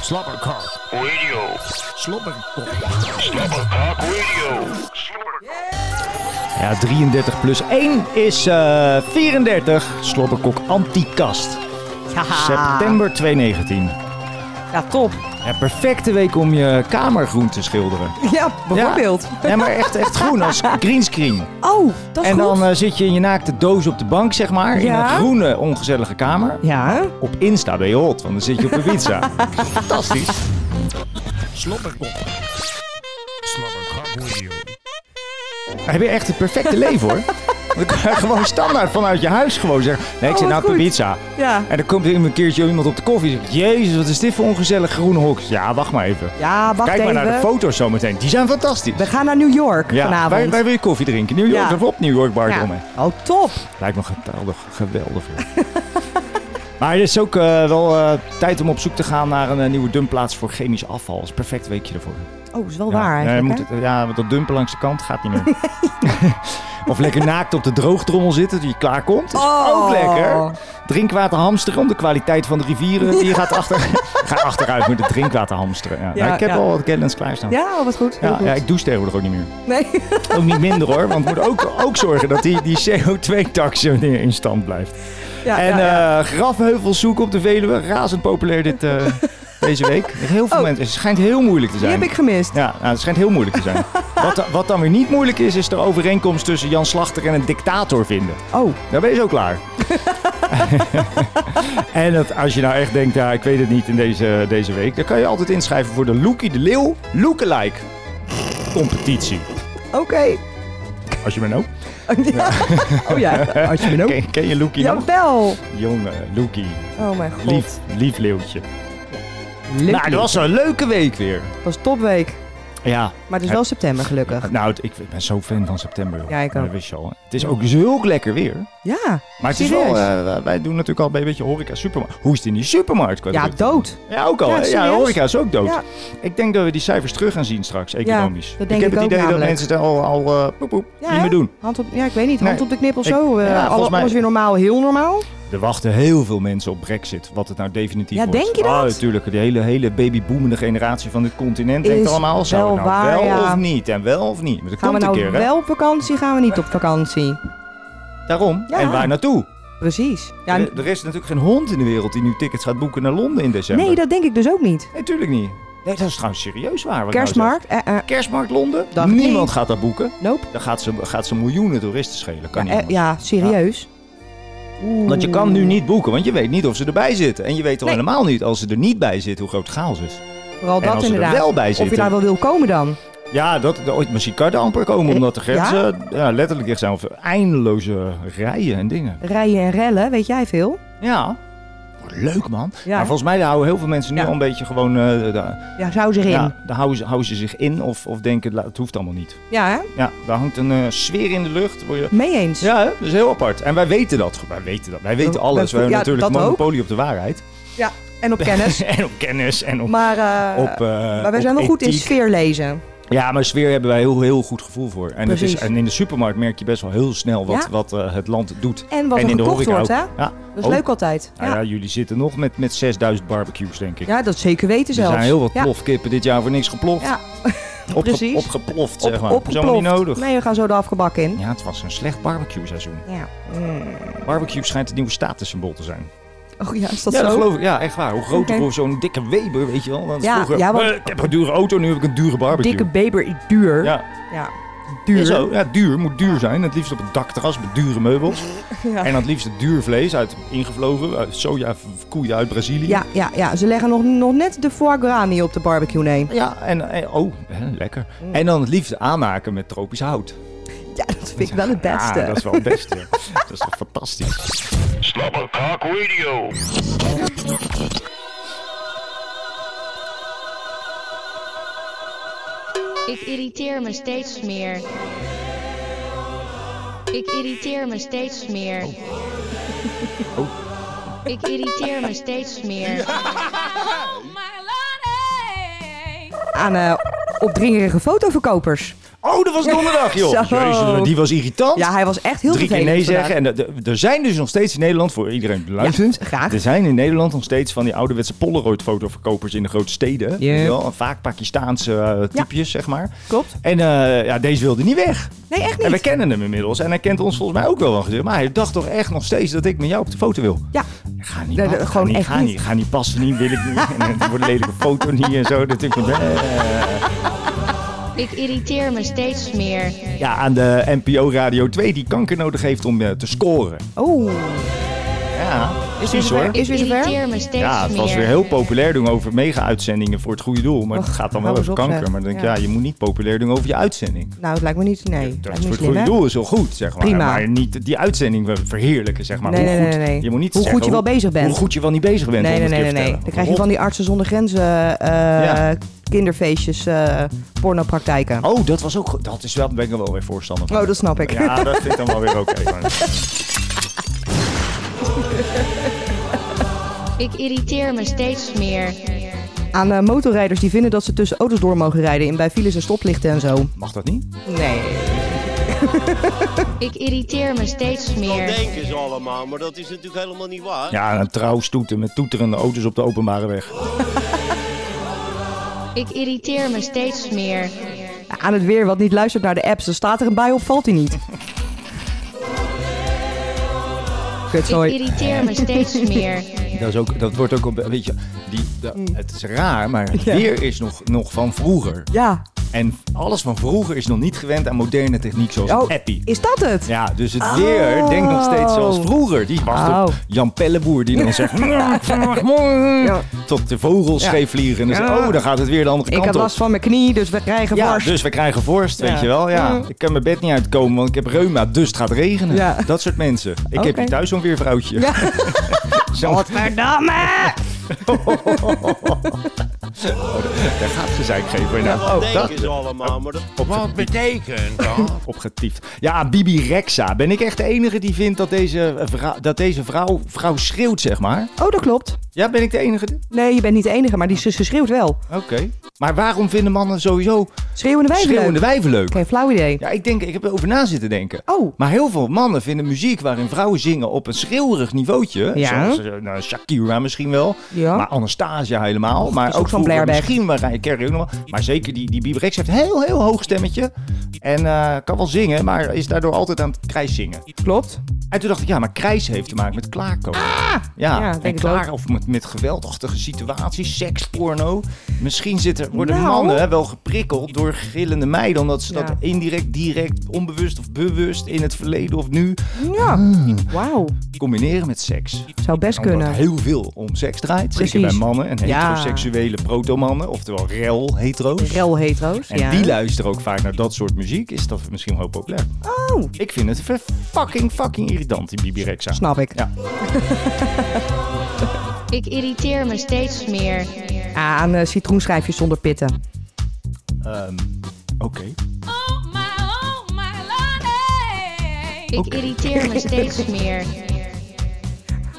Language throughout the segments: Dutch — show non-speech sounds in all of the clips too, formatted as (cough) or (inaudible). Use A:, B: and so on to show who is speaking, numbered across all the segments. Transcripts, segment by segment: A: Slobberkok.
B: Radio.
A: Slobberkok.
B: Slobberkok Radio.
C: Ja, 33 plus 1 is eh 34. Slobberkok Antikast. September 2019.
D: Ja, top.
C: Ja, perfecte week om je kamer groen te schilderen.
D: Ja, bijvoorbeeld.
C: Ja, nee, maar echt, echt groen
D: (laughs)
C: als greenscreen.
D: Oh, dat is
C: En dan
D: goed.
C: eh, zit je in je naakte doos op de bank, zeg maar. In
D: Ja.
C: een groene, ongezellige kamer.
D: ja.
C: Op Insta ben je hot, want dan zit je op
D: (laughs)
C: Ibiza. Fantastisch.
A: Slobberkok. Slobberkok Radio.
C: Heb je echt het perfecte leven, hoor.
D: (laughs)
C: Dan kan je gewoon standaard vanuit je huis gewoon zeggen... Nee, ik
D: Oh,
C: zit
D: wat
C: nou op
D: goed.
C: Ibiza.
D: Ja.
C: En dan komt er een keertje iemand op de koffie en zegt... Jezus, wat is dit voor ongezellig groene hok? Ja, wacht maar even.
D: Ja, wacht
C: Kijk
D: even.
C: maar naar de foto's zometeen. Die zijn fantastisch.
D: We gaan naar New York
C: Ja,
D: vanavond.
C: wij, wij wil je koffie drinken. New York,
D: Ja.
C: of op New York Bar,
D: Ja.
C: domme.
D: Oh, top.
C: Lijkt me geweldig, geweldig. (laughs) joh. maar het is ook eh, wel eh, tijd om op zoek te gaan naar een eh, nieuwe dumpplaats voor chemisch afval. Dat is een perfect weekje ervoor.
D: Oh, is wel
C: Ja.
D: waar
C: Nee,
D: eigenlijk.
C: moet
D: hè?
C: het- ja, want dat dumpen langs de kant gaat niet
D: (laughs)
C: meer. (laughs) of lekker naakt op de droogtrommel zitten die klaar komt. Is
D: Oh.
C: ook lekker. Drinkwater hamsteren, de kwaliteit van de rivieren. Die gaat,
D: (laughs)
C: achter, gaat achteruit met het drinkwater hamsteren. Ja.
D: Ja,
C: Nou, ik heb
D: ja.
C: al wat kennis klaarstaan.
D: Ja, oh, wat goed. Heel
C: Ja,
D: goed.
C: ja, ik douche tegenwoordig ook niet meer.
D: Nee. (laughs)
C: Ook niet minder hoor, want we moeten ook, ook zorgen dat die, die CO2-tax in stand blijft.
D: Ja,
C: en
D: ja, ja.
C: eh, grafheuvels zoeken op de Veluwe, razend populair dit,
D: (laughs)
C: eh, deze week. Heel veel
D: Oh.
C: mensen, het schijnt heel moeilijk te
D: Die
C: zijn.
D: heb ik gemist.
C: Ja, nou, het schijnt heel moeilijk te zijn.
D: (laughs)
C: wat, da- wat dan weer niet moeilijk is, is de overeenkomst tussen Jan Slachter en een dictator vinden.
D: Oh,
C: Daar ben je zo
D: (laughs)
C: klaar. en dat, als je nou echt denkt, ja, ik weet het niet in deze, deze week, dan kan je altijd inschrijven voor de Loekie de Leeuw Lookalike competitie.
D: oké. (laughs)
C: Als je me nou...
D: Oh ja, als
C: (laughs)
D: je me ook.
C: Ken, ken je Loekie nog?
D: Jawel.
C: Jongen, Loekie.
D: Oh mijn god.
C: Lief, lief leeuwtje.
D: Leuk.
C: Nou, dat was een leuke week weer.
D: Het was topweek.
C: Ja.
D: Maar het is wel september gelukkig.
C: Nou, het- ik ben zo fan van september. joh.
D: Ja, ik ook.
C: Dat wist je al. hè. Het is ook zulk lekker weer.
D: Ja.
C: Maar het is
D: Serieus?
C: wel, eh, wij doen natuurlijk al een beetje horeca supermarkt. Hoe is het in die supermarkt? qua
D: Ja,
C: drukte?
D: dood.
C: Ja, ook al.
D: Ja,
C: hè? Ja,
D: serieus?
C: horeca is ook dood.
D: Ja.
C: Ik denk dat we die cijfers terug gaan zien straks, economisch.
D: dat denk
C: heb
D: ik
C: het
D: ook
C: idee dat
D: namelijk.
C: mensen het al, al eh, poep, poep,
D: Ja,
C: niet
D: hè?
C: meer doen.
D: Hand op, ja, ik weet niet. Hand
C: Nee.
D: op de knip of
C: Ik-
D: zo. eh,
C: ja,
D: alle-
C: volgens mij-
D: Alles weer normaal, heel normaal.
C: Er wachten heel veel mensen op Brexit, wat het nou definitief
D: Ja,
C: wordt.
D: denk je dat?
C: Ah, natuurlijk. De hele, hele babyboomende generatie van dit continent denkt
D: Is
C: allemaal, zou het
D: wel
C: nou
D: waar,
C: wel
D: ja.
C: of niet? En wel of niet? Maar dat
D: Gaan we
C: komt
D: nou
C: een keer, hè?
D: wel op vakantie, gaan we niet op vakantie?
C: Daarom.
D: Ja.
C: En waar naartoe?
D: Precies. Ja,
C: er, er is natuurlijk geen hond in de wereld die nu tickets gaat boeken naar Londen in december.
D: nee, dat denk ik dus ook niet.
C: Nee, tuurlijk niet. Nee, dat is trouwens serieus waar. wat ik nou zeg.
D: Kerstmarkt? Eh, eh,
C: Kerstmarkt Londen?
D: Dag
C: Niemand
D: niet.
C: gaat dat boeken.
D: nope.
C: Dan gaat ze, gaat ze miljoenen toeristen schelen. Kan
D: Ja,
C: niet
D: eh,
C: anders.
D: ja, serieus. Oeh.
C: Want je kan nu niet boeken, want je weet niet of ze erbij zitten. En je weet al
D: Nee.
C: helemaal niet als ze er niet bij zitten hoe groot het chaos is.
D: Vooral
C: en
D: dat
C: als ze er
D: inderdaad.
C: wel bij
D: Of je
C: zitten.
D: daar wel wil komen dan.
C: Ja, dat, ooit misschien kan je er amper
D: Eh,
C: komen omdat de grenzen ja, letterlijk dicht zijn. Of eindeloze rijen en dingen.
D: Rijden en rellen, weet jij veel?
C: Ja. Wat Leuk man.
D: Ja.
C: Maar volgens mij daar houden heel veel mensen nu
D: Ja.
C: al een beetje gewoon. eh daar,
D: Ja, zou zich in.
C: ja,
D: Ja,
C: daar houden, ze, houden ze zich in of, of denken "La, het hoeft allemaal niet.
D: hè?
C: Ja, daar hangt een eh, sfeer in de lucht. Word je
D: Mee eens.
C: Ja, hè? dat is heel apart. En wij weten dat. Wij weten, dat. Wij weten
D: Dat-
C: alles. We
D: Oh, ja,
C: hebben natuurlijk
D: dat ook.
C: monopolie op de waarheid.
D: Ja, en op kennis.
C: en op kennis en (laughs) op...
D: Maar, eh,
C: op, eh,
D: maar wij
C: op
D: zijn wel goed in
C: ethiek.
D: sfeer lezen.
C: Ja, maar sfeer hebben wij heel, heel goed gevoel voor. En, het is,
D: Precies.
C: en in de supermarkt merk je best wel heel snel wat,
D: Ja.
C: wat eh, het land doet.
D: En wat
C: en
D: er
C: in de
D: gekocht
C: horeca
D: wordt,
C: ook.
D: hè?
C: Ja.
D: Dat is
C: Ook.
D: leuk altijd.
C: Nou
D: Ja.
C: ja, jullie zitten nog met, met 6000 barbecues, denk ik.
D: ja, dat zeker weten
C: er
D: zelfs.
C: zijn heel wat
D: ja.
C: plofkippen dit jaar voor niks geploft.
D: Ja,
C: Opge-
D: precies.
C: Opgeploft, zeg
D: Op-
C: maar. Dat is
D: opgeploft.
C: helemaal niet nodig.
D: Nee, we gaan zo de afgebak in.
C: Ja, het was een slecht barbecue seizoen.
D: Ja. Mm.
C: Barbecue schijnt het nieuwe statussymbool te zijn.
D: Oh ja, is dat
C: ja,
D: zo?
C: dat geloof ik. Ja, echt waar. Hoe groter
D: Oké.
C: voor zo'n dikke Weber, weet je wel. Want
D: Ja,
C: vroeger,
D: ja, want-
C: "Eh, ik heb een dure auto, nu heb ik een dure barbecue.
D: Dikke Beber, duur.
C: Ja,
D: Ja.
C: duur. Zo, ja, duur. Moet duur zijn. Het liefst op een dakterras met dure meubels.
D: (laughs) Ja.
C: En dan het liefst duur vlees uit ingevlogen uit soja, koeien uit Brazilië.
D: Ja, ja, ja, ze leggen nog, nog net de foie gras niet op de barbecue, nee.
C: Ja, en, en- oh, hè, lekker.
D: Mm.
C: En dan het liefst aanmaken met tropisch hout.
D: Ja, dat vind ik wel het beste.
C: Ja, dat is wel het beste.
D: (laughs)
C: dat is toch fantastisch.
B: Slobberkok Radio.
E: Ik irriteer me steeds meer. Ik irriteer me steeds meer. Ik irriteer me steeds meer.
D: Aan eh opdringerige fotoverkopers.
C: Oh, Zo, dat was donderdag, joh.
D: (laughs) Zo.
C: Jezus, die was irritant.
D: Ja, hij was echt heel
C: Drie keer
D: vervelend
C: nee
D: vandaag.
C: zeggen. En er- er- er zijn dus nog steeds in Nederland, voor iedereen die luistert.
D: Ja, graag.
C: Er zijn in Nederland nog steeds van die ouderwetse Polaroid-fotoverkopers in de grote steden. Weet je wel? Vaak Pakistaanse eh, typjes, zeg maar.
D: Klopt.
C: En eh, ja, deze wilde niet weg.
D: Nee, echt
C: En we
D: niet.
C: kennen hem inmiddels. En hij kent ons volgens mij ook wel wel gezegd. Maar hij dacht toch echt nog steeds dat ik met jou op de foto wil.
D: Ja,
C: Ga niet,
D: Nee,
C: pa-
D: dat-
C: ga
D: gewoon
C: niet,
D: echt
C: ga
D: niet.
C: niet. Ga niet passen, niet, wil ik (laughs) niet. En het wordt een lelijke foto niet en zo. Dat ik
D: (laughs)
C: van, eh.
E: Ik irriteer me steeds meer.
C: Ja, aan de NPO Radio 2 die kanker nodig heeft om eh, te scoren.
D: oh.
C: Ja,
D: Is weer
C: precies hoor.
D: zover. Is weer
E: Ik
D: zover?
E: irriteer me steeds meer.
C: Ja, het was weer heel populair doen over mega-uitzendingen voor het goede doel. Maar
D: Och,
C: het gaat dan wel
D: hou
C: over
D: eens op,
C: kanker.
D: zeg.
C: Maar dan denk ik, ja.
D: Ja.
C: je moet niet populair doen over je uitzending.
D: Nou, het lijkt me niet. Nee,
C: Dat is
D: lijkt
C: voor
D: me niet
C: het
D: slim,
C: goede
D: hè?
C: doel is heel goed, zeg maar.
D: Prima.
C: Maar niet die uitzending ver- verheerlijken, zeg maar.
D: Nee,
C: hoe
D: nee,
C: goed,
D: nee, nee.
C: Je moet niet
D: Hoe
C: zeggen
D: goed je wel bezig bent.
C: Hoe goed je wel niet bezig bent.
D: Nee, nee,
C: honderd
D: nee,
C: keer
D: nee, nee.
C: vertellen.
D: Dan krijg je van die artsen zonder grenzen eh,
C: Ja.
D: kinderfeestjes, eh, pornopraktijken. Oh,
C: Oh, dat was ook goed. Dat is wel, ben ik er wel weer voorstander van.
D: dat snap ik.
C: Oh. Ja, dat vind ik dan wel weer oké.
E: Ik irriteer me steeds meer.
D: Aan eh, motorrijders die vinden dat ze tussen auto's door mogen rijden in bij files en stoplichten en zo.
C: Mag dat niet?
D: Nee.
E: Ik irriteer me steeds
F: Dat
E: meer.
F: denken ze allemaal, maar dat is natuurlijk helemaal niet waar.
C: Ja, een trouwstoeten met toeterende auto's op de openbare weg.
E: Ik irriteer me steeds meer.
D: Aan het weer wat niet luistert naar de apps, dan staat er een bij op, valt hij niet. Kut,
E: Ik
D: sorry.
E: irriteer me steeds meer.
C: Dat, is ook, dat wordt ook een be- weet je, die, dat-
D: Mm.
C: het is raar, maar het weer is nog, nog van vroeger.
D: Ja.
C: En alles van vroeger is nog niet gewend aan moderne techniek zoals een
D: Oh,
C: appie.
D: is dat het?
C: Ja, dus het weer denkt nog steeds zoals vroeger. Die wacht op
D: Oh.
C: Jan Pelleboer die dan zegt...
D: (laughs)
C: "Mm, "Ja, vanmorgen."
D: Ja.
C: Tot de vogels
D: Ja.
C: scheef vliegen. En dan
D: Ja.
C: zegt, oh, dan gaat het weer de andere
D: Ik
C: kant
D: had
C: op.
D: last van mijn knie, dus we krijgen
C: ja,
D: worst.
C: dus we krijgen vorst, weet
D: Ja.
C: je wel. Ja. Ik kan mijn bed niet uitkomen, want ik heb reuma, dus het gaat regenen.
D: Ja.
C: Dat soort mensen. Ik heb
D: Oké.
C: hier thuis zo'n weervrouwtje.
D: Ja.
C: (laughs) Zo'n-
D: Godverdamme!
C: Daar gaat ze zeik geven. Nou,
F: Dat
C: oh,
F: denken ze
C: dat-
F: allemaal, maar dat...
A: Wat betekent dat?
C: opgetiefd. Ja, Bibi Rexa. Ben ik echt de enige die vindt dat deze, eh, vrou- dat deze vrouw, vrouw schreeuwt, zeg maar?
D: Oh, dat klopt.
C: Ja, ben ik de enige? die-
D: Nee, je bent niet de enige, maar die zus schreeuwt wel.
C: Oké. Maar waarom vinden mannen sowieso
D: Schreeuwende wijven
C: schreeuwende
D: leuk.
C: wijven leuk?
D: Geen flauw idee.
C: Ja, ik denk, ik heb erover na zitten denken.
D: Oh.
C: Maar heel veel mannen vinden muziek waarin vrouwen zingen op een schreeuwerig niveautje.
D: Ja.
C: Zoals eh, nou, Shakira misschien wel.
D: Ja.
C: Maar Anastasia helemaal. Maar
D: is
C: ook
D: ook van
C: vroeger
D: Blairback.
C: Misschien Mariah Carey ook nog wel. Maar zeker die, die Bieber Rex heeft een heel, heel hoog stemmetje. En eh, kan wel zingen, maar is daardoor altijd aan het krijs zingen.
D: Klopt.
C: En toen dacht ik, ja, maar krijs heeft te maken met klaarkomen. ja,
D: Ah! Ja,
C: en
D: denk ik
C: klaar of met, met geweldachtige situaties, seks, porno. Misschien zitten, worden
D: Nou.
C: mannen hè, wel geprikkeld door gillende meiden, omdat ze dat
D: Ja.
C: indirect, direct, onbewust of bewust in het verleden of nu
D: Ja. Wauw.
C: combineren met seks.
D: Zou best
C: Omdat
D: kunnen.
C: Mm. heel veel om seks draait, zeker
D: Precies.
C: bij mannen en
D: Ja.
C: heteroseksuele proto-mannen, oftewel rel hetero's.
D: Rel hetero's.
C: en
D: ja.
C: die luisteren ook vaak naar dat soort muziek, is dat misschien wel heel populair.
D: Oh,
C: Ik vind het ver- fucking, fucking irritant, die Bibi Rexa.
D: snap ik.
C: Ja.
E: Ik irriteer me steeds meer.
D: Ah, Aan eh, citroenschijfjes zonder pitten.
C: Ehm, Oké.
E: Ik irriteer me steeds meer.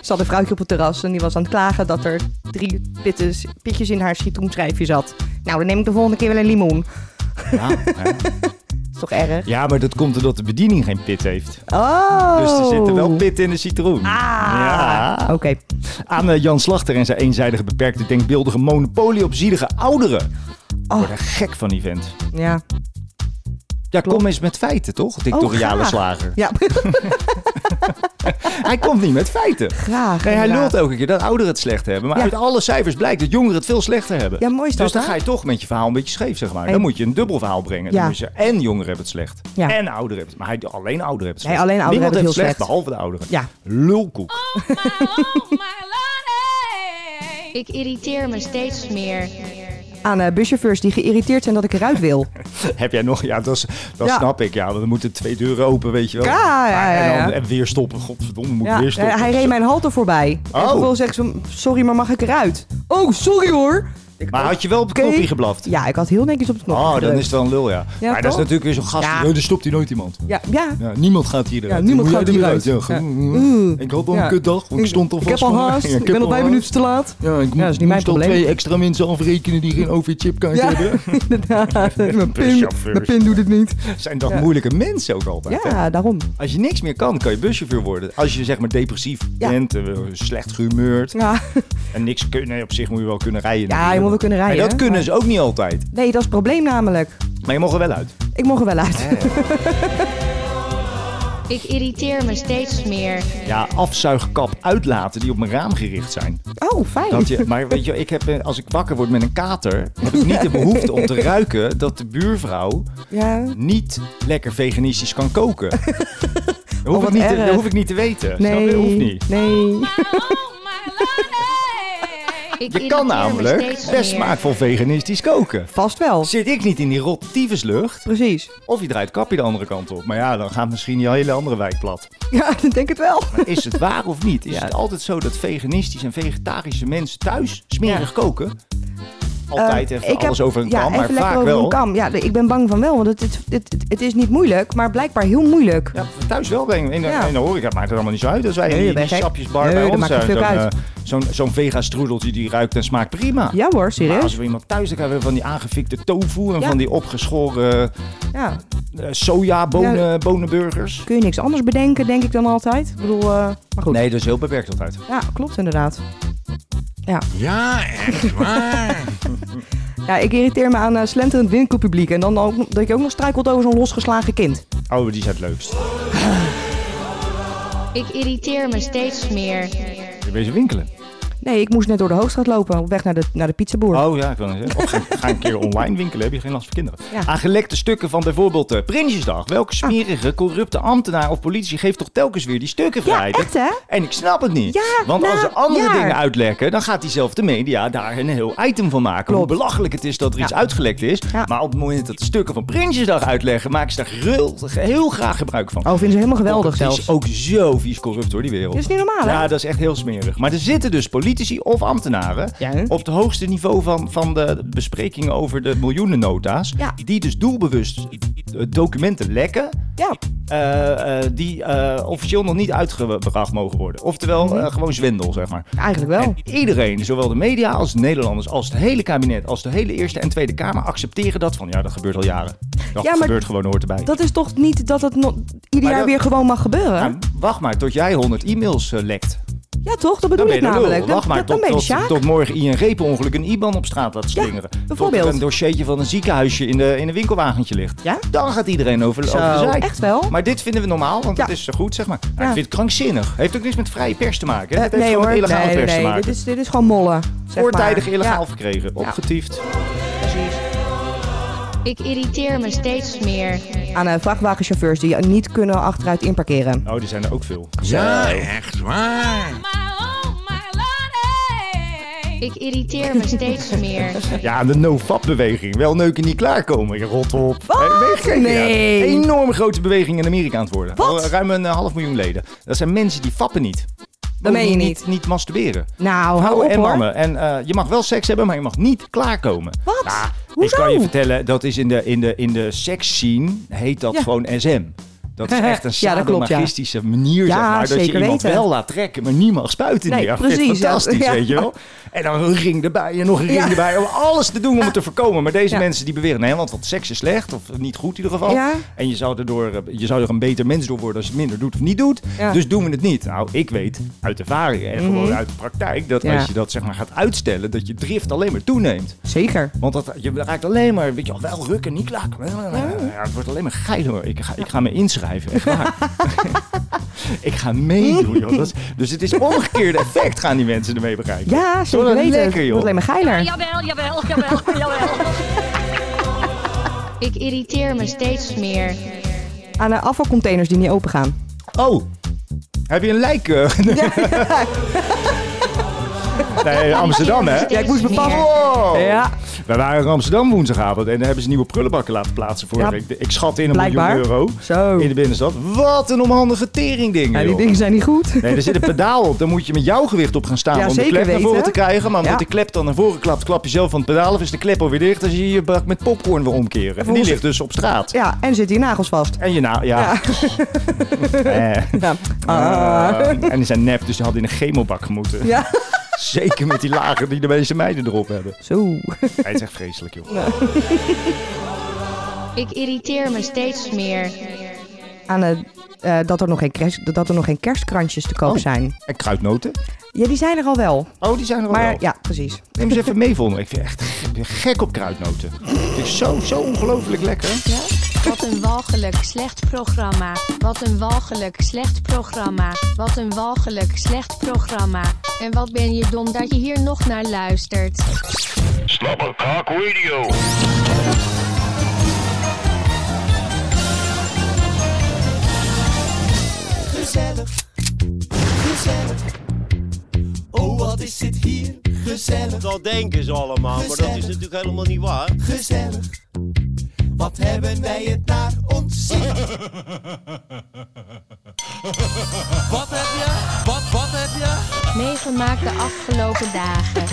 D: Zat een vrouwtje op het terras en die was aan het klagen dat er drie pitjes, pitjes in haar citroenschijfje zat. Nou, dan neem ik de volgende keer wel een limoen.
C: Ja, hè.
D: Is toch erg?
C: ja, maar dat komt omdat de bediening geen pit heeft.
D: Oh.
C: Dus er zitten wel pitten in de citroen.
D: Ah.
C: Ja.
D: Oké.
C: Aan eh, Jan Slachter en zijn eenzijdige beperkte denkbeeldige monopolie op zielige ouderen.
D: Oh.
C: Ik word er gek van die vent.
D: Ja.
C: Ja, kom eens met feiten, toch? Dictoriale
D: Oh, graag.
C: slager.
D: Ja. (laughs)
C: Hij komt niet met feiten.
D: Graag.
C: Nee, hij
D: inderdaad.
C: lult elke keer dat ouderen het slecht hebben. Maar
D: Ja.
C: uit alle cijfers blijkt dat jongeren het veel slechter hebben.
D: Ja, mooi is
C: Dus
D: dat,
C: dan
D: hè?
C: ga je toch met je verhaal een beetje scheef, zeg maar. Dan
D: En-
C: moet je een dubbel verhaal brengen.
D: Ja.
C: Dan moet je en jongeren hebben het slecht.
D: Ja.
C: En ouderen hebben het Maar hij, alleen ouderen hebben het
D: Nee,
C: slecht.
D: alleen ouderen
C: Niemand
D: hebben
C: heeft
D: het
C: slecht,
D: heel slecht.
C: behalve de ouderen.
D: Ja.
C: Lulkoek.
E: Ik irriteer me steeds meer.
D: Aan eh, buschauffeurs die geïrriteerd zijn dat ik eruit wil.
C: Heb jij nog? Ja, dat, is, dat
D: Ja.
C: snap ik. Ja, want dan moeten twee deuren open, weet je wel.
D: Ja, ja,
C: Maar- En,
D: ja,
C: dan,
D: ja.
C: en weer stoppen. Godverdomme, moet
D: Ja,
C: weer stoppen.
D: eh, hij reed mijn halte voorbij.
C: Oh.
D: En toen zegt ze, sorry, maar mag ik eruit? Oh, sorry hoor. Ik
C: Maar
D: ook.
C: had je wel op het
D: Oké.
C: knopje geblaft?
D: Ja, ik had heel netjes op het knopje
C: Oh, dan
D: gedrukt.
C: is het wel een lul, ja.
D: Ja,
C: maar dat is
D: toch?
C: natuurlijk weer zo'n gast.
D: Ja.
C: Ja. daar stopt hier nooit iemand.
D: Ja, ja.
C: Ja, niemand gaat hier eruit.
D: niemand
C: Moet
D: gaat
C: jij er weer
D: hieruit.
C: uit? Ja,
D: Ja.
C: mm,
D: Oeh.
C: Ik had al een
D: Ja.
C: kutdag, want ik stond al
D: Ik
C: vast.
D: heb al
C: van-
D: haast.
C: Ja,
D: ik, ben
C: heb
D: al vijf
C: haast.
D: minuten te laat.
C: Ja, ik
D: Ja,
C: moet,
D: is
C: ja,
D: niet mijn
C: moest al
D: probleem.
C: twee extra mensen afrekenen die geen OV-chipkaart
D: Ja,
C: hebben.
D: (laughs) inderdaad. Mijn pin,
C: Buschauffeurs.
D: mijn pin doet het niet.
C: Zijn dat
D: Ja.
C: moeilijke mensen ook altijd? hè?
D: Ja, daarom.
C: Als je niks meer kan, kan je buschauffeur worden. Als je zeg maar depressief
D: Ja.
C: bent, eh, slecht gehumeurd
D: Ja,
C: en niks kunnen. Nee, op zich moet je wel kunnen rijden.
D: ja je moet wel kunnen
C: Maar
D: rijden.
C: dat kunnen ze ook niet altijd.
D: Nee, dat is het probleem namelijk.
C: Maar je mag er wel uit.
D: Ik mocht er wel uit.
E: Ik irriteer me steeds meer.
C: Ja, afzuigkap uitlaten die op mijn raam gericht zijn.
D: (laughs) Oh, fijn.
C: Dat je, maar weet je, ik heb, eh, als ik wakker word met een kater, heb ik niet de behoefte om te ruiken dat de buurvrouw
D: (laughs) Ja.
C: niet lekker veganistisch kan
D: (laughs)
C: koken. Dat hoef,
D: Oh,
C: ik,
D: wat
C: niet te,
D: erg.
C: dat hoef ik niet te weten. Snap je?
D: Nee.
C: Dat hoeft niet.
D: Nee.
E: Ik
C: Je kan namelijk best smaakvol veganistisch koken.
D: Vast wel.
C: Zit ik niet in die rottievenslucht,
D: Precies. (laughs)
C: of je draait kapje de andere kant op. Maar ja, dan gaat misschien die hele andere wijk plat.
D: Ja, ik denk het wel.
C: Maar is het waar of niet? Is
D: Ja.
C: het altijd zo dat veganistisch en vegetarische mensen thuis smerig koken? Altijd
D: Ehm,
C: even alles over een
D: ja,
C: kam, maar
D: even lekker
C: vaak
D: over
C: wel.
D: een kam. Ja, ik ben bang van wel, want het, het, het, het is niet moeilijk, maar blijkbaar heel moeilijk.
C: Ja, thuis wel. denk ik. In de,
D: Ja.
C: in de horeca maakt het allemaal niet zo uit. Als wij
D: Nee,
C: in
D: dat
C: die,
D: ben
C: die
D: ik gek.
C: sapjesbar
D: Nee,
C: bij
D: dat
C: ons
D: maakt
C: zijn,
D: niet
C: zo'n
D: veel
C: eh,
D: uit.
C: zo'n zo'n vega-stroedeltje die ruikt en smaakt prima.
D: Ja hoor,
C: Maar
D: serieus?
C: als we iemand thuis hebben, hebben we van die aangefikte tofu en
D: Ja.
C: van die opgeschoren
D: Ja.
C: eh sojabonen,
D: Ja.
C: bonenburgers.
D: Kun je niks anders bedenken, denk ik dan altijd. Ik bedoel, eh, maar goed.
C: Nee, dat is heel beperkt altijd.
D: Ja, klopt inderdaad.
A: Ja, echt waar.
D: (laughs)
C: (laughs)
D: Ja, ik irriteer me aan eh, slenterend winkelpubliek en dan ook, dat je ook nog struikelt over zo'n losgeslagen kind.
C: Oh, die zijn het leukst.
E: Ik irriteer me steeds meer.
C: Je wezen winkelen.
D: Nee, ik moest net door de Hoogstraat lopen, op weg naar de, naar de pizzaboer.
C: Oh ja, ik wil zeggen. Of ga, ga een keer online winkelen, heb je geen last van kinderen.
D: Ja.
C: Aan gelekte stukken van bijvoorbeeld eh, Prinsjesdag. Welke smerige, corrupte ambtenaar of politie geeft toch telkens weer die stukken
D: ja,
C: vrij? Dat-
D: echt hè?
C: En ik snap het niet.
D: Ja,
C: Want als
D: nou,
C: ze andere
D: ja.
C: dingen uitlekken, dan gaat diezelfde media daar een heel item van maken.
D: Klopt.
C: Hoe belachelijk het is dat er iets
D: Ja.
C: uitgelekt is.
D: Ja.
C: Maar op het moment dat de stukken van Prinsjesdag uitleggen, maken ze daar heel, heel graag gebruik van.
D: Oh, vinden ze helemaal geweldig
C: Het is
D: zelfs.
C: ook zo vies corrupt hoor, die wereld.
D: Dat is niet normaal hè?
C: Ja, dat is echt heel smerig. Maar er zitten dus politici of ambtenaren
D: Ja, hè?
C: op het hoogste niveau van, van de besprekingen over de miljoenennota's.
D: Ja.
C: Die dus doelbewust eh, documenten lekken
D: Ja,
C: eh, eh, die eh, officieel nog niet uitgebracht mogen worden. Oftewel eh, gewoon zwendel, zeg maar.
D: eigenlijk wel.
C: En iedereen, zowel de media als de Nederlanders, als het hele kabinet, als de hele Eerste en Tweede Kamer, accepteren dat van ja, dat gebeurt al jaren. Dat
D: Ja, maar
C: gebeurt gewoon, hoort erbij.
D: Dat is toch niet dat het nog ieder
C: Maar
D: jaar
C: dat-
D: weer gewoon mag gebeuren?
C: Nou, wacht maar tot jij 100 e-mails eh, lekt.
D: Ja, toch? Dat
C: Dan
D: bedoel
C: ben
D: ik
C: je de
D: namelijk.
C: lul.
D: Dan,
C: Wacht maar
D: dan, dan
C: tot,
D: ben je
C: tot,
D: Sjaak.
C: tot morgen ING per ongeluk een IBAN op straat laat slingeren. Tot
D: bijvoorbeeld.
C: er een dossiertje van een ziekenhuisje in, de, in een winkelwagentje ligt.
D: Ja?
C: Dan gaat iedereen over, over de
D: Zo,
C: zijk.
D: echt wel?
C: Maar dit vinden we normaal, want
D: Ja.
C: het is zo goed, zeg maar. Nou,
D: Ja.
C: Ik vind het krankzinnig. Heeft ook niks met vrije pers te maken. Hè?
D: Eh,
C: Het heeft
D: nee
C: gewoon
D: hoor,
C: met illegale
D: nee,
C: pers
D: nee,
C: te maken.
D: Dit is, dit is gewoon mollen. zeg maar.
C: Voortijdig illegaal
D: Ja,
C: verkregen, opgetiefd.
D: precies.
E: Ik irriteer me steeds meer.
D: Aan eh, vrachtwagenchauffeurs die niet kunnen achteruit inparkeren.
C: Oh, die zijn er ook veel.
A: Ja, echt waar.
E: Ik irriteer me steeds meer.
C: Ja, de no-fap-beweging. Wel neuken niet klaarkomen, je rot op. Hey, weet je,
D: Nee.
C: ja. Enorm grote beweging in Amerika aan het worden.
D: Wat?
C: Al Ruim een eh, half miljoen leden. Dat zijn mensen die fappen niet.
D: Dat meen je
C: Die
D: niet.
C: Niet, niet masturberen.
D: Nou, hou
C: Vrouwen
D: op
C: en
D: hoor.
C: mannen. En eh, je mag wel seks hebben, maar je mag niet klaarkomen.
D: Wat?
C: Nou,
D: Hoezo?
C: Ik kan je vertellen, dat is in de, in de, in de seksscene heet dat
D: Ja.
C: gewoon SM. Dat is
D: (laughs)
C: echt een
D: Ja, dat klopt, ja.
C: sadomasochistische manier,
D: Ja,
C: zeg maar. Dat je
D: zeker
C: iemand
D: weten.
C: wel laat trekken, maar niet mag spuiten.
D: Nee,
C: meer. Ik vind het
D: precies, ja.
C: Fantastisch,
D: Ja.
C: weet je wel. En dan een ring erbij en nog een ring
D: Ja.
C: erbij. Om alles te doen om het
D: (laughs)
C: te voorkomen. Maar deze
D: Ja.
C: mensen die beweren, nee, want, want seks is slecht. Of niet goed in ieder geval.
D: Ja.
C: En je zou, erdoor, eh, je zou er een beter mens door worden als je het minder doet of niet doet.
D: Ja. Mhm.
C: Dus doen we het niet. Nou, ik weet uit ervaring en gewoon uit de praktijk... dat
D: Ja.
C: als je dat zeg maar gaat uitstellen, dat je drift alleen maar toeneemt.
D: Zeker.
C: Want dat, je raakt alleen maar, weet je wel, wel rukken, niet klakken. Ja, het wordt alleen maar geil hoor. Ik ga, ik ga me inschrijven, echt
D: (laughs)
C: waar. ik ga meedoen, joh. Dat is- dus het is omgekeerde effect gaan die mensen ermee bereiken.
D: Ja,
C: Wat
D: zeker
C: een
D: weten.
C: lekker,
D: Het
C: joh.
D: wordt alleen maar geiler.
G: Jawel, jawel, jawel, jawel.
E: Ik irriteer me steeds meer.
D: Aan eh, afvalcontainers die niet open gaan. (laughs)
C: Oh, heb je een lijk? eh? Nee, Amsterdam, hè?
D: Ja, ik moest me passen.
C: Oh,
D: Ja,
C: We waren in Amsterdam woensdagavond en daar hebben ze nieuwe prullenbakken laten plaatsen voor.
D: Ja.
C: Ik, ik schat in een
D: Blijkbaar.
C: miljoen euro
D: zo.
C: in de binnenstad. Wat een onhandige teringding,
D: Ja, die
C: joh.
D: dingen zijn niet goed.
C: Nee, er zit een pedaal op. Dan moet je met jouw gewicht op gaan staan
D: Ja,
C: om de
D: zeker
C: klep naar
D: weten.
C: voren te krijgen. Maar omdat
D: Ja.
C: de klep dan naar voren klapt, klap je zelf van het pedaal af. Is de klep alweer dicht als je je bak met popcorn wil omkeren. En die
D: volgens-
C: ligt dus op straat.
D: Ja, en zitten je nagels vast.
C: En je nou, ja. (laughs) Eh,
D: Ja. Ah.
C: eh, en die zijn nep, dus die hadden in een chemobak moeten.
D: Ja.
C: Zeker met die lagen die de meeste meiden erop
D: (laughs)
C: hebben.
D: Zo.
C: Hij is echt vreselijk, joh.
E: Ik irriteer me steeds meer.
D: Aan eh, eh, dat, er nog geen kerst, dat er nog geen kerstkrantjes te koop
C: Oh.
D: zijn.
C: En kruidnoten.
D: Ja, die zijn er al wel.
C: Oh, die zijn er al
D: Maar
C: wel.
D: ja, precies.
C: Neem eens even mee, Vonne. Ik vind echt ik ben gek op kruidnoten. Het is zo, zo ongelooflijk lekker.
G: Wat een walgelijk slecht programma. Wat een walgelijk slecht programma. Wat een walgelijk slecht programma. En wat ben je dom dat je hier nog naar luistert.
B: Slobberkok Radio.
H: gezellig, gezellig. Oh, wat is dit hier gezellig,
F: Dat denken ze allemaal, maar dat is natuurlijk helemaal niet waar.
H: gezellig. Wat hebben wij het naar ons zin. (laughs) Wat heb je? Wat, wat heb je?
G: Meegemaakt de afgelopen dagen.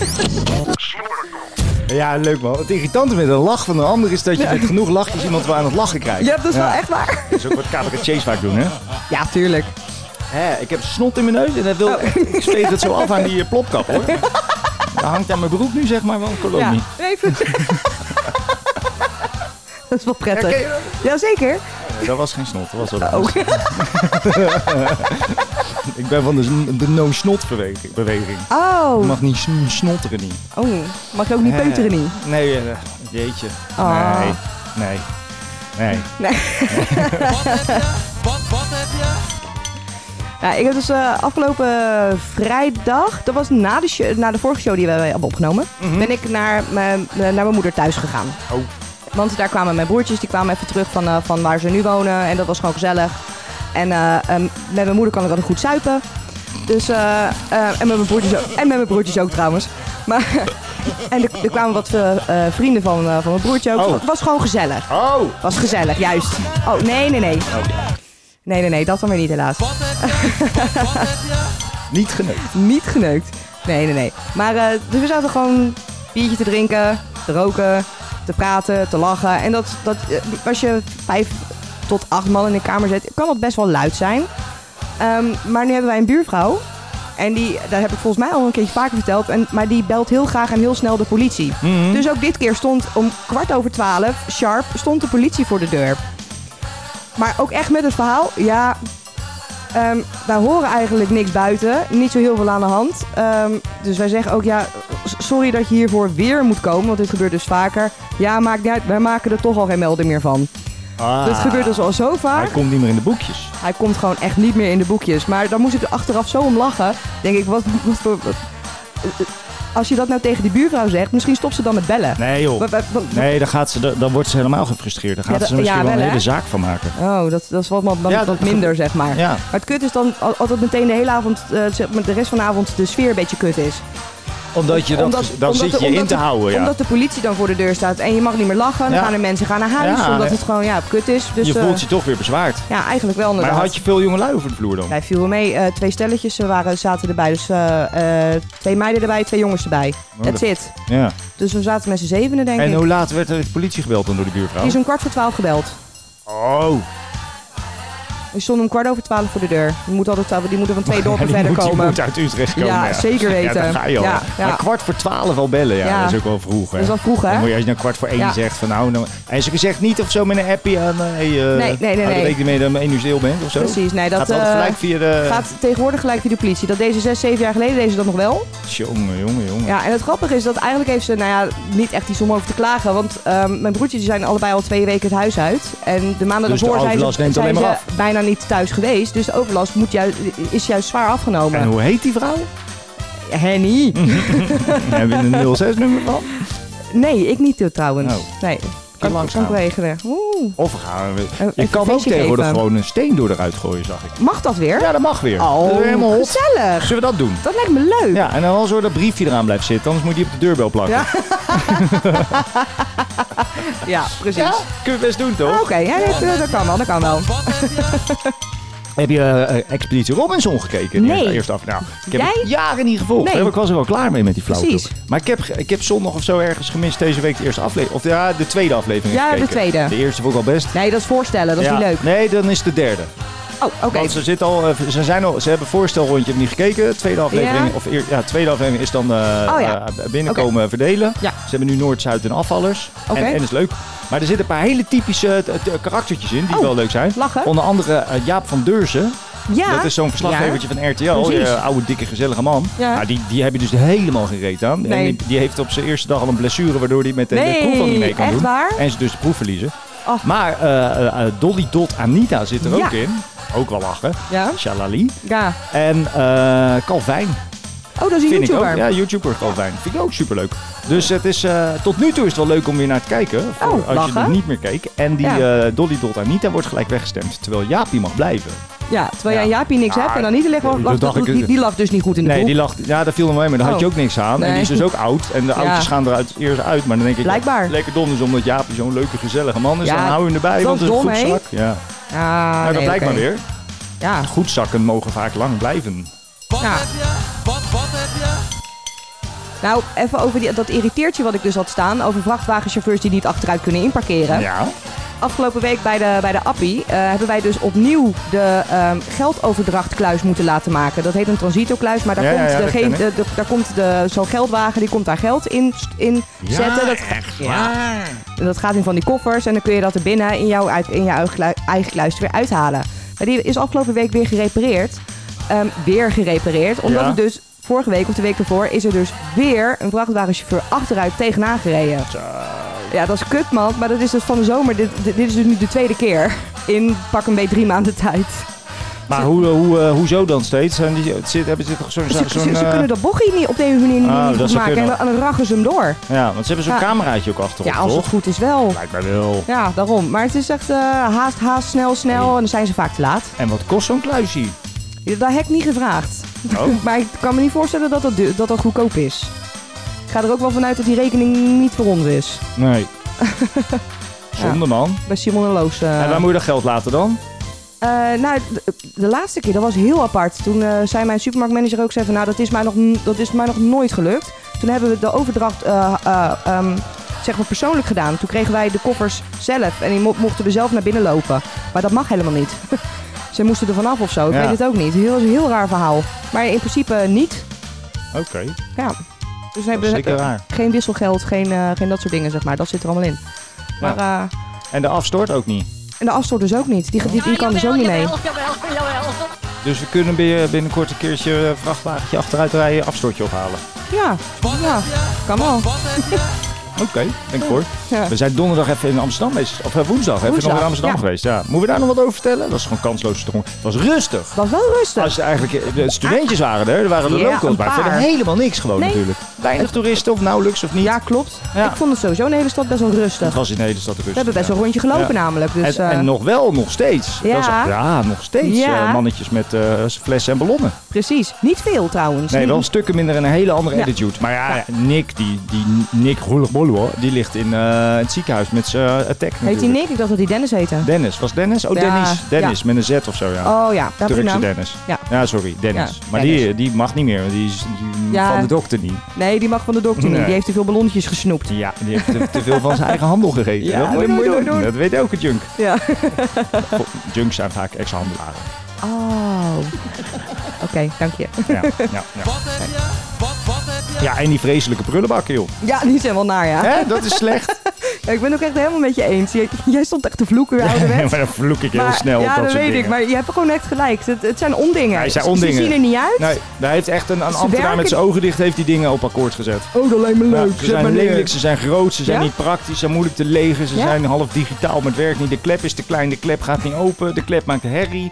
C: Ja, leuk man. Het irritante met een lach van een ander is dat je met genoeg lachjes iemand weer aan het lachen krijgt.
D: Je hebt dus
C: Ja.
D: wel echt waar.
C: Dat is ook wat cabaretiers vaak doen, hè?
D: Ja, tuurlijk.
C: Hè, ik heb snot in mijn neus en dat wil,
D: Oh.
C: ik zweeg het zo af aan die eh, plopkap,
D: (laughs)
C: hoor. Dat hangt aan mijn broek nu, zeg maar, wel een kolonie.
D: Ja,
C: (laughs)
D: even. dat is wel prettig. Jazeker.
C: Nee, Dat was geen snot, dat was wel
D: Oh.
C: een (laughs) Ik ben van de, sn- de no-snot beweging. beweging. Je
D: Oh.
C: mag niet sn- snotteren niet.
D: oh. Mag je ook niet peuteren niet?
C: Nee, eh, jeetje.
D: Ah.
C: Nee, nee, nee.
H: Wat, wat heb je?
D: Ja, ik heb dus eh, afgelopen vrijdag, dat was na de, show- na de vorige show die we hebben opgenomen, ben ik naar mijn, eh, naar mijn moeder thuis gegaan.
C: Mhm. Oh.
D: Want daar kwamen mijn broertjes, die kwamen even terug van, eh, van waar ze nu wonen en dat was gewoon gezellig. En eh, eh, met mijn moeder kan ik altijd goed zuipen. Dus, eh, eh, en, met mijn broertjes ook, en met mijn broertjes ook trouwens. Maar, (laughs) en er, er kwamen wat eh, eh, vrienden van, eh, van mijn broertje ook.
C: Oh.
D: Het was gewoon gezellig.
C: Oh!
D: was gezellig, juist. Oh, nee, nee, nee. Nee, nee, nee, dat dan weer niet helaas.
H: Wat heb je? Wat heb je?
C: Niet geneukt.
D: Niet geneukt. Nee, nee, nee. Maar eh, dus we zaten gewoon biertje te drinken, te roken, te praten, te lachen. En dat, dat eh, als je vijf tot acht man in de kamer zet, kan dat best wel luid zijn. Ehm, maar nu hebben wij een buurvrouw. En die, daar heb ik volgens mij al een keertje vaker verteld. En, maar die belt heel graag en heel snel de politie. Dus ook dit keer stond om kwart over twaalf, sharp, stond de politie voor de deur. Maar ook echt met het verhaal, ja, ehm, wij horen eigenlijk niks buiten. Niet zo heel veel aan de hand. Ehm, dus wij zeggen ook, ja, s- sorry dat je hiervoor weer moet komen, want dit gebeurt dus vaker. Ja, maakt niet uit, wij maken er toch al geen melding meer van.
C: Ah.
D: Dit gebeurt dus al zo vaak.
C: Hij komt niet meer in de boekjes.
D: Hij komt gewoon echt niet meer in de boekjes. Maar dan moest ik er achteraf zo om lachen. Denk ik, wat, wat voor- wat- eh, Als je dat nou tegen die buurvrouw zegt, misschien stopt ze dan met bellen.
C: Nee joh.
D: Wat- wat- wat-
C: Nee, dan, gaat ze, dan- dan wordt ze helemaal gefrustreerd. Dan gaat
D: Ja, dat-
C: ze er misschien
D: ja,
C: wel
D: wel,
C: een hele
D: hè?
C: zaak van maken.
D: Oh, dat, dat is wat, wat,
C: Ja,
D: wat
C: dat-
D: minder, zeg maar.
C: Ja.
D: Maar het kut is dan al- altijd meteen de hele avond, eh, zeg maar, de rest van de avond, de sfeer een beetje kut is.
C: Omdat je dat, dan
D: omdat
C: zit
D: de-
C: je
D: omdat
C: in te
D: de-
C: houden. Ja.
D: Omdat de politie dan voor de deur staat en je mag niet meer lachen. Dan
C: Ja.
D: gaan er mensen gaan naar huis,
C: Ja,
D: omdat
C: hè.
D: het gewoon ja, kut is. Dus,
C: je
D: eh,
C: voelt je toch weer bezwaard.
D: Ja, eigenlijk wel
C: Maar
D: inderdaad.
C: had je veel jongelui over de vloer dan?
D: Wij vielen mee. eh, twee stelletjes eh, waren, zaten erbij. Dus eh, eh, twee meiden erbij, twee jongens erbij.
C: Oh,
D: That's it.
C: Ja.
D: Dus we zaten met z'n zevenen, denk
C: En
D: ik.
C: hoe laat werd er de politie gebeld dan door de
D: Die
C: buurvrouw?
D: is om kwart voor twaalf gebeld.
C: Oh,
D: Die stond om kwart over twaalf voor de deur. Die moet, altijd, die moeten van twee dorpen
C: Oh, die
D: verder
C: moet, die
D: komen.
C: moet uit Utrecht komen.
D: Ja, zeker
C: Ja,
D: weten.
C: daar ga je al.
D: Ja, ja.
C: Maar kwart voor twaalf al bellen, ja,
D: Ja.
C: dat is ook wel vroeg. Hè?
D: Dat is wel vroeg,
C: Dan
D: hè?
C: moet je als je nou kwart voor één
D: Ja.
C: zegt van nou... nou en ze zegt niet of zo met een appie aan... eh, hey, eh,
D: nee, nee,
C: hou er
D: nee.
C: rekening mee dat je om één uur stil bent of zo.
D: Precies, nee, dat
C: gaat altijd
D: eh,
C: gelijk via de...
D: gaat tegenwoordig gelijk via de politie. Dat deze zes, zeven jaar geleden, deze dat nog wel.
C: Jongen, jongen, jongen.
D: Ja, en het grappige is dat eigenlijk heeft ze, nou ja, niet echt iets om over te klagen. Want ehm, mijn broertjes die zijn allebei al twee weken het huis uit. En de maanden
C: Dus de
D: daarvoor zijn
C: overlast
D: ze,
C: neemt
D: zijn
C: alleen maar
D: ze bijna niet thuis geweest. Dus de overlast moet juist, is juist zwaar afgenomen.
C: En hoe heet die
D: (laughs)
C: vrouw?
D: Henny?
C: (laughs) Hebben we een 06-nummer van?
D: Nee, ik niet eh, trouwens.
C: Oh.
D: Nee. Kan,
C: langs
D: kan ik
C: gaan.
D: regelen. Oeh. Oeh.
C: Of we gaan we-
D: Een-
C: Je
D: een
C: kan ook
D: feestje
C: tegenwoordig
D: geven.
C: gewoon een steen door eruit gooien, zag ik.
D: Mag dat weer?
C: Ja, dat mag weer. Dat
D: Oh,
C: is helemaal hot.
D: gezellig.
C: Zullen we dat doen?
D: Dat lijkt me leuk.
C: Ja, en dan wel zo dat briefje eraan blijft zitten, anders moet je die op de deurbel plakken.
D: Ja. Ja, precies.
C: Ja, Kun je best doen, toch?
D: Ah, Oké, ja, dat, dat kan wel, dat kan wel.
C: Heb je eh, Expeditie Robinson gekeken?
D: Nee.
C: Eerst- Eerst af. Nou, ik heb
D: Jij?
C: het jaren niet gevolgd.
D: Nee.
C: hoor. Ik was er wel klaar mee met die flauwekul.
D: Precies.
C: Maar ik heb, ge- ik heb zondag of zo ergens gemist deze week de eerste aflevering. Of ja, de tweede aflevering
D: Ja,
C: gekeken.
D: de tweede.
C: De eerste vond ik al best.
D: Nee, dat is voorstellen, dat is
C: Ja.
D: niet leuk.
C: Nee, dan is het de derde.
D: Oh, oké.
C: Want ze, zit al, eh, ze, zijn al, ze hebben voorstelrondje hebben niet gekeken. Tweede aflevering,
D: Ja. Oh
C: of eer- ja, tweede aflevering is dan eh,
D: ja.
C: eh, binnenkomen verdelen.
D: Ja.
C: Ze hebben nu Noord, Zuid en afvallers.
D: Oké.
C: En, en dat is leuk. Maar er zitten een paar hele typische eh, t- karaktertjes in die
D: Oh,
C: wel leuk zijn.
D: lachen.
C: Onder andere eh, Jaap van Deurzen.
D: Ja.
C: Dat is zo'n verslaggevertje van RTL. Die
D: Precies.
C: eh, oude, dikke, gezellige man.
D: Ja.
C: Nou, die, die heb je dus helemaal geen reet aan.
D: Nee.
C: En die, die heeft op zijn eerste dag al een blessure... waardoor hij met de, de
D: Nee,
C: proef al niet mee kan
D: echt
C: doen.
D: waar?
C: En ze dus de proef verliezen.
D: Oh.
C: Maar eh, eh, eh, Dolly Dot Anita zit er
D: Ja.
C: ook in. Ook wel lachen.
D: Ja.
C: Shalali.
D: Ja.
C: En eh Calvijn.
D: Oh, dat is een
C: Vind ik ook.
D: YouTuber.
C: Ja, YouTuber Calvijn. Vind ik ook superleuk. Dus het is, eh, tot nu toe is het wel leuk om weer naar te kijken. Voor
D: Oh,
C: als je
D: lachen.
C: er niet meer keek. En die
D: Ja.
C: eh, Dolly Dot Anita wordt gelijk weggestemd. Terwijl Jaapie mag blijven.
D: Ja, terwijl jij
C: Ja.
D: en Jaapie niks
C: Ja,
D: hebt en dan niet lag,
C: dat
D: lag,
C: dacht ik-
D: die, die lag dus niet goed in de
C: Nee,
D: poel.
C: die lag, ja, daar viel hem wel mee, maar daar had je
D: Oh.
C: ook niks aan. En
D: Nee.
C: die is dus ook oud. En de oudjes gaan eruit eerst uit. Maar dan denk ik,
D: Blijkbaar.
C: lekker dom is omdat Jaapie zo'n leuke, gezellige man is.
D: Ja,
C: dan hou je hem erbij,
D: dat
C: want
D: is
C: het is een
D: dom,
C: goed
D: hè?
C: zak. Ja.
D: Ah,
C: Maar
D: nee,
C: dat blijkt
D: oké.
C: maar weer.
D: Ja.
C: Goed zakken mogen vaak lang blijven.
H: Wat
D: Ja.
H: heb je? Wat, wat heb je?
D: Nou, even over die, dat irriteertje wat ik dus had staan over vrachtwagenchauffeurs die niet achteruit kunnen inparkeren.
C: Ja.
D: Afgelopen week bij de, bij de Appie eh, hebben wij dus opnieuw de ehm, geldoverdrachtkluis moeten laten maken. Dat heet een transitokluis, maar daar
C: Ja, ja,
D: komt,
C: ja,
D: de,
C: dat
D: geen-
C: ken
D: de- de- daar komt de, zo'n geldwagen, die komt daar geld in, in zetten. Dat,
A: echt
D: ja.
A: waar.
D: En dat gaat in van die koffers en dan kun je dat er binnen in jouw, uit- in jouw eigen klui- eigen kluis er weer uithalen. Maar die is afgelopen week weer gerepareerd. Ehm, weer gerepareerd. Omdat
C: Ja.
D: het dus vorige week of de week ervoor is er dus weer een vrachtwagenchauffeur achteruit tegenaan gereden. Ja, dat is kut man. Maar dat is dus van de zomer. Dit, dit, dit is dus nu de tweede keer. In pak een beetje drie maanden tijd.
C: Maar hoe, hoe, eh, hoezo dan steeds? Zijn die, het zit, hebben ze toch zo'n...
D: Ze,
C: zo'n
D: ze- ze
C: eh,
D: kunnen dat bochtje niet op deze manier niet
C: Ah,
D: goed
C: dat zou
D: maken. En
C: kunnen.
D: dan, en dan raggen ze hem door.
C: Ja, want ze hebben zo'n
D: Ja.
C: cameraatje ook achterop,
D: Ja, als het
C: toch?
D: goed is wel.
C: Lijkt mij wel.
D: Ja, daarom. Maar het is echt eh, haast, haast, snel, snel. En dan zijn ze vaak te laat.
C: En wat kost zo'n kluisje?
D: Ja, Dat heb ik niet gevraagd.
C: Oh.
D: Maar ik kan me niet voorstellen dat dat, du- dat dat goedkoop is. Ik ga er ook wel vanuit dat die rekening niet voor ons is. (laughs)
C: Nee. Zonde, man.
D: Bij Simon en Loos. eh.
C: En waar moet je dat geld laten dan?
D: Eh, nou, de, de laatste keer, dat was heel apart. Toen eh, zei mijn supermarktmanager ook zei van, nou, dat is, mij nog, n- dat is mij nog nooit gelukt. Toen hebben we de overdracht eh, eh, ehm, zeg maar persoonlijk gedaan. Toen kregen wij de koffers zelf en die mo- mochten we zelf naar binnen lopen. Maar dat mag helemaal niet. (laughs) Ze moesten er vanaf of zo. Ik
C: Ja.
D: weet het ook niet. Het was een heel raar verhaal. Maar in principe niet.
C: Oké,
D: Ja. Dus we
C: dat is
D: hebben
C: zeker raar.
D: geen wisselgeld, geen, eh, geen dat soort dingen, zeg maar. Dat zit er allemaal in. Maar, eh,
C: En de afstort ook niet.
D: en de afstoot dus ook niet. Die, die, die kan dus ook niet mee.
C: Dus we kunnen binnen- binnenkort een keertje eh, vrachtwagentje achteruit rijden, afstortje ophalen.
D: Ja,
H: Wat
D: ja.
H: heb je?
D: kan wel.
H: Wat heb je?
C: Oké, ben ik voor.
D: Ja.
C: We zijn donderdag even in Amsterdam geweest. Of eh, woensdag, even nog
D: Woensdag,
C: in Amsterdam
D: ja.
C: geweest. Ja. Moeten we daar nog wat over vertellen? Dat was gewoon kansloos stronk. Het was rustig.
D: Dat is wel rustig.
C: Als je eigenlijk, eh, de studentjes waren er, er waren de
D: Ja,
C: locals,
D: een
C: maar verder
D: paar.
C: helemaal niks gewoon
D: Nee.
C: natuurlijk. Weinig toeristen of nauwelijks of niet.
D: Ja, klopt.
C: Ja.
D: Ik vond het sowieso in de hele stad best wel
C: het
D: rustig.
C: was in de hele stad
D: We
C: rustig.
D: hebben best
C: ja.
D: wel een rondje gelopen
C: Ja.
D: namelijk. Dus,
C: en,
D: eh,
C: en nog wel, nog steeds.
D: Ja.
C: Dat is- ja, nog steeds.
D: Ja.
C: eh, mannetjes met eh, flessen en ballonnen.
D: Precies. Niet veel trouwens.
C: Nee,
D: Niet-
C: wel stukken minder en een hele andere
D: Ja.
C: attitude. Maar ja, Nick, die, die Nick hoor, die ligt in eh, het ziekenhuis met zijn eh, attack
D: Heet hij
C: natuurlijk.
D: Nick? Ik dacht dat hij Dennis heette.
C: Dennis, was Dennis? Oh,
D: Ja,
C: Dennis. Dennis, met een Z of zo, ja.
D: Oh ja, daar heb ik
C: Turkse
D: naam.
C: Dennis.
D: Ja.
C: sorry, Dennis.
D: Ja,
C: maar Die, eh,
D: Dennis.
C: die mag niet meer, want die is die-
D: Ja.
C: van de dokter niet.
D: Nee, die mag van de dokter niet.
C: Nee.
D: Die heeft te veel ballonnetjes gesnoept.
C: Ja, die heeft te, te veel van zijn eigen handel gegeten.
D: Ja,
C: dat moet je
D: dat
C: nooit
D: moet je
C: doen.
D: nooit doen.
C: Dat weet elke junk. (laughs)
D: Ja.
C: Goh, Junks zijn vaak ex-handelaren.
D: Oh. Oké, dank je.
C: Ja, ja, ja.
H: Wat heb je? Wat, wat heb je?
C: ja, en die vreselijke prullenbak, joh.
D: Ja, die zijn wel naar, ja.
C: Hè, dat is slecht.
D: (laughs) Ja, Ik ben ook echt helemaal met je eens. Jij, jij stond echt te vloeken, weer
C: maar
D: ouderwets.
C: dan vloek ik heel
D: Maar-
C: snel op
D: Ja,
C: dat
D: dat
C: soort
D: weet
C: dingen.
D: ik. Maar je hebt gewoon echt gelijk. Het, het zijn ondingen.
C: Ja, het zijn
D: Ze-
C: ondingen.
D: Ze zien er niet uit.
C: Nee, hij heeft echt een, een ambtenaar
D: werken-
C: met zijn ogen dicht heeft die dingen op akkoord gezet.
D: Oh, dat lijkt me
C: Ja,
D: leuk.
C: ze zijn lelijk, ze zijn groot, ze zijn
D: Ja?
C: niet praktisch, ze zijn moeilijk te legen, ze
D: Ja?
C: zijn half digitaal, maar het werkt niet. De klep is te klein, de klep gaat niet open, de klep maakt herrie.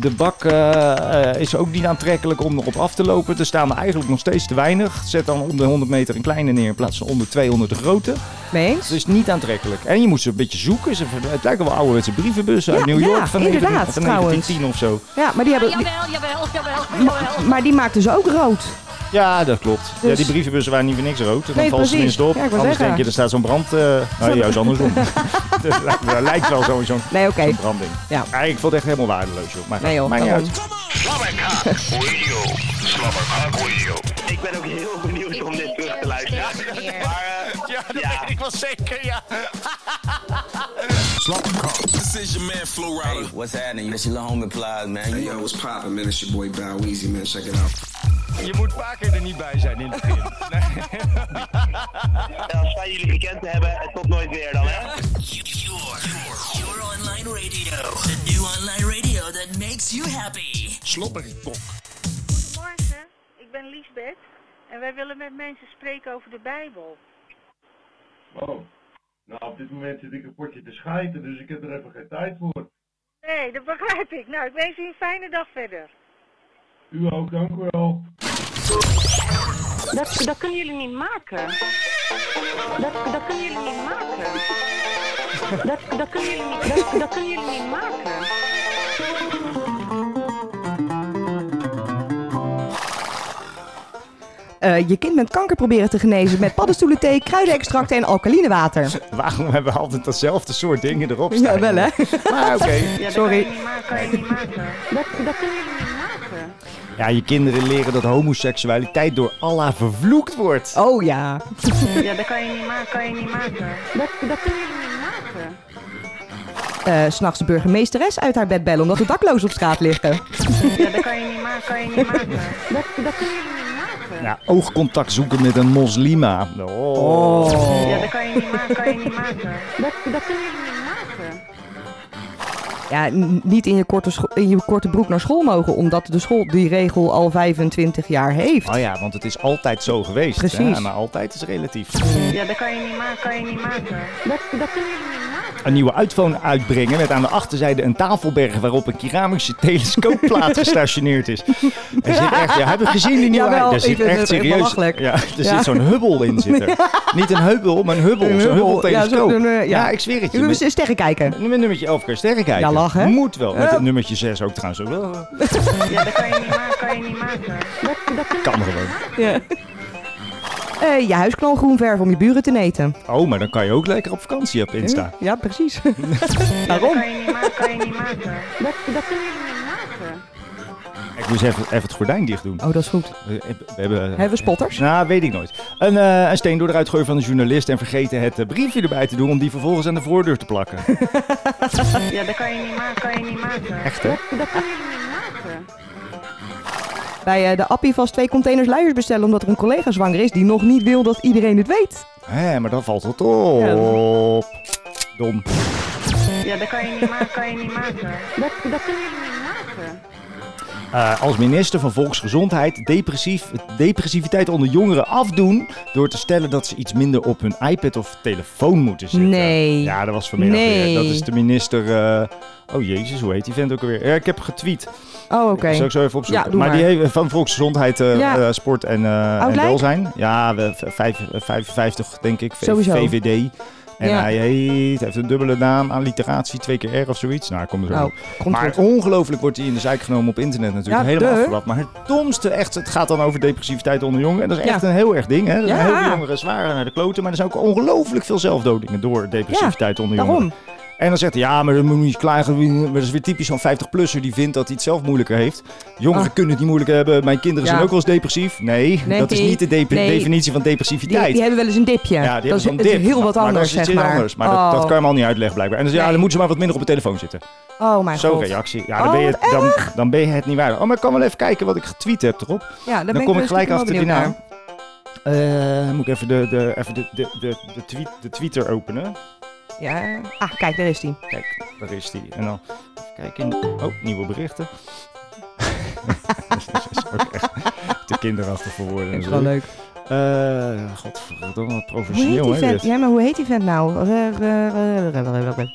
C: De bak eh, eh, is ook niet aantrekkelijk om erop af te lopen. Er staan er eigenlijk nog steeds te weinig. Zet dan om de 100 meter een kleine neer in plaats van om de 200 de grote.
D: Mee eens?
C: Het is niet aantrekkelijk. En je moet ze een beetje zoeken. Ze, het lijken wel ouderwetse brievenbussen uit
D: Ja,
C: New York
D: ja,
C: van,
D: inderdaad,
C: 19, van
D: trouwens.
C: 1910 of zo.
D: Ah, Ja, maar die hebben... die-
I: Jawel, jawel, jawel,
D: Ma- maar die maakten ze ook rood.
C: Ja, dat klopt. Ja,
D: Dus-
C: die brievenbussen waren niet voor niks rood. Dan valt
D: Nee,
C: ze
D: precies.
C: tenminste op.
D: Ja, ik wou
C: Anders
D: zeggen.
C: denk je, er staat zo'n brand... eh nou, juist
D: (laughs)
C: andersom. (laughs) dat lijkt- dat lijkt wel zo'n zo'n
D: Nee, oké.
C: zo'n branding.
D: Ja.
C: Ah, ik vond het echt helemaal waardeloos, joh. Maar
D: Nee joh,
C: maakt niet
D: daarom.
C: uit.
B: Slobberkak Radio. Slobberkak Radio.
F: Ik ben ook heel benieuwd om dit terug te luisteren. Maar, eh, ja, dat weet ik wel zeker, ja.
J: This is your man Flo Rida.
K: What's happening? That's your little homie Plies, man. You
J: Yo, what's poppin', man? It's your boy Bow Weezy, man. Check it out.
F: Je moet vaker er niet bij zijn in het begin. Als wij jullie bekend hebben, tot nooit weer dan, hè?
K: Your online radio. The new online radio that makes you happy.
B: Slobberkok.
L: Goedemorgen, ik ben Liesbeth en wij willen met mensen spreken over de Bijbel.
M: Oh. Nou, op dit moment zit ik een potje te schijten, dus ik heb er even geen tijd voor.
L: Nee, dat begrijp ik. Nou, ik wens u een fijne dag verder.
M: U ook, dank u wel.
I: Dat, dat kunnen jullie niet maken. Dat, dat kunnen jullie niet maken. Dat, dat, kunnen jullie niet, dat, dat kunnen jullie niet maken.
D: Eh, je kind met kanker proberen te genezen met paddenstoelenthee, kruidenextracten en alkaline water.
C: (laughs) Waarom hebben we altijd datzelfde soort dingen erop staan?
D: Ja, wel hè?
C: Maar oké.
D: Sorry.
I: Dat, dat kunnen jullie niet maken.
C: Ja, je kinderen leren dat homoseksualiteit door Allah vervloekt wordt.
D: Oh ja.
I: Ja, dat kan je niet maken. Kan je niet maken. Dat, dat kunnen jullie niet maken.
D: Eh, s S'nachts de burgemeesteres uit haar bed bellen omdat de daklozen op straat liggen.
I: Ja, dat kan je niet maken. Kan je niet maken. Dat, dat kunnen jullie niet maken.
C: Ja, oogcontact zoeken met een moslima. Oh.
I: Ja, dat kan je niet maken. Kan je niet maken. Dat, dat kunnen jullie niet maken.
D: Ja, n- niet in je, korte scho- in je korte broek naar school mogen, omdat de school die regel al 25 jaar heeft.
C: Oh ja, want het is altijd zo geweest. hè?
D: Precies.
C: Maar altijd is relatief.
I: Ja, dat kan je niet maken. Kan je niet maken. Dat, dat kunnen jullie niet maken.
C: Een nieuwe iPhone uitbrengen met aan de achterzijde een tafelberg waarop een keramische
D: (laughs)
C: telescoopplaat gestationeerd is. Er zit echt, ja, hebben we gezien die nieuwe
D: Jawel,
C: i- Er
D: ik
C: zit
D: vind
C: echt
D: het echt
C: serieus.
D: belachelijk.
C: Ja, er
D: Ja.
C: zit zo'n hubbel in
D: (laughs)
C: zitten. Niet een hubbel, maar een hubbel.
D: Een
C: Zo'n
D: hubbel,
C: hubbeltelescoop.
D: ja, zo'n, eh, ja.
C: ik zweer het je.
D: Jullie
C: Met,
D: eens sterren kijken.
C: met nummertje 11 keer sterren kijken.
D: Ja, lachen, hè?
C: Moet wel. Met
D: Ja.
C: het nummertje 6 ook trouwens. ook wel.
I: Ja, dat kan je niet maken. Kan je niet maken. Dat, dat kunnen
C: Kan gewoon.
D: Ja. (laughs) Eh, je huisknal groen verven om je buren te neten.
C: Oh, maar dan kan je ook lekker op vakantie op Insta.
D: Ja, precies. (laughs) Waarom?
I: Kan je niet maken, kan je niet maken. Dat, dat kunnen jullie niet maken.
C: Ik moest even, even het gordijn dicht doen.
D: Oh, dat is goed.
C: We we hebben...
D: Hebben we spotters?
C: Nou, weet ik nooit. Een, eh, een steen door de uitgeur van een journalist en vergeten het eh, briefje erbij te doen om die vervolgens aan de voordeur te
D: (laughs)
C: plakken.
I: Ja, dat kan je niet maken, kan je niet maken.
C: Echt hè?
I: Dat kunnen jullie niet maken.
D: Bij eh, de appie vast twee containers luiers bestellen omdat er een collega zwanger is die nog niet wil dat iedereen het weet.
C: Hé, maar dat valt wat op. Dom.
I: Ja, dat kan je niet maken, kan je niet maken. Dat, dat kunnen jullie niet maken.
C: Eh, als minister van Volksgezondheid depressief, depressiviteit onder jongeren afdoen door te stellen dat ze iets minder op hun iPad of telefoon moeten zitten.
D: Nee.
C: Ja, dat was vanmiddag
D: Nee.
C: weer. Dat is de minister... eh, oh jezus, hoe heet die vent ook alweer? Ja, ik heb getweet.
D: Oh, oké.
C: Zal ik zo even
D: Ja,
C: opzoeken.
D: doe
C: maar,
D: maar.
C: die heeft van volksgezondheid, eh,
D: Ja.
C: eh, sport en, eh, en
D: Oud-Lijk?
C: welzijn. Ja, we- v- vijf- eh, 55 denk ik. V-
D: Sowieso.
C: VVD. En
D: Ja.
C: hij heet, heeft een dubbele naam, alliteratie, twee keer R of zoiets. Nou, kom er zo.
D: Oh,
C: op.
D: komt
C: maar
D: goed.
C: ongelooflijk wordt hij in de zijk genomen op internet natuurlijk.
D: Ja,
C: Helemaal
D: duh.
C: afgebracht. Maar het domste, echt, het gaat dan over depressiviteit onder jongeren. En dat is
D: Ja.
C: echt een heel erg ding. Hè? Er zijn
D: Ja.
C: Heel veel jongeren zwaren naar de kloten. Maar er zijn ook ongelooflijk veel zelfdodingen door depressiviteit onder jongeren.
D: Daarom.
C: En dan zegt hij, ja, maar dat moet je niet klagen. Maar dat is weer typisch zo'n 50-plusser die vindt dat hij het zelf moeilijker heeft. Jongeren
D: Ah.
C: kunnen het niet moeilijker hebben. Mijn kinderen
D: Ja.
C: zijn ook wel eens depressief. Nee,
D: Nee,
C: dat is niet de de-
D: nee.
C: definitie van
D: Die,
C: depressiviteit.
D: die hebben wel eens een dipje.
C: ja, die
D: dat
C: hebben
D: is,
C: zo'n
D: het is
C: dip.
D: heel wat
C: maar dat
D: anders,
C: is iets
D: zeg
C: heel
D: maar.
C: anders. Maar
D: oh.
C: dat, dat kan je hem al niet uitleggen blijkbaar. En dan, zegt hij, ja, dan
D: Nee.
C: moeten ze maar wat minder op de telefoon zitten.
D: Oh mijn
C: Zo'n
D: god.
C: reactie. Ja, dan, ben
D: Oh,
C: je,
D: wat
C: dan, dan ben je het niet waard. Oh, maar ik kan wel even kijken wat ik getweet heb erop.
D: Ja, daar ben
C: dan kom ik
D: wel
C: gelijk
D: stiekem wel
C: achter die
D: benieuwd
C: naam.
D: naar.
C: Eh, moet ik even de, de, even de, de, de, de, tweet, de Twitter openen.
D: Ja. Ah, kijk, daar is die.
C: Kijk, daar is die. En dan even kijken. in de- Oh, nieuwe berichten. (laughs) dat is ook echt te kinderachtig voor woorden.
D: Dat is wel
C: natuurlijk.
D: leuk.
C: Eh, godverdomme, wat
D: Hoe heet
C: professioneel
D: die
C: hè
D: vent?
C: dit.
D: Ja, maar hoe heet die vent nou? Eh, eh, eh, eh, eh, eh, eh.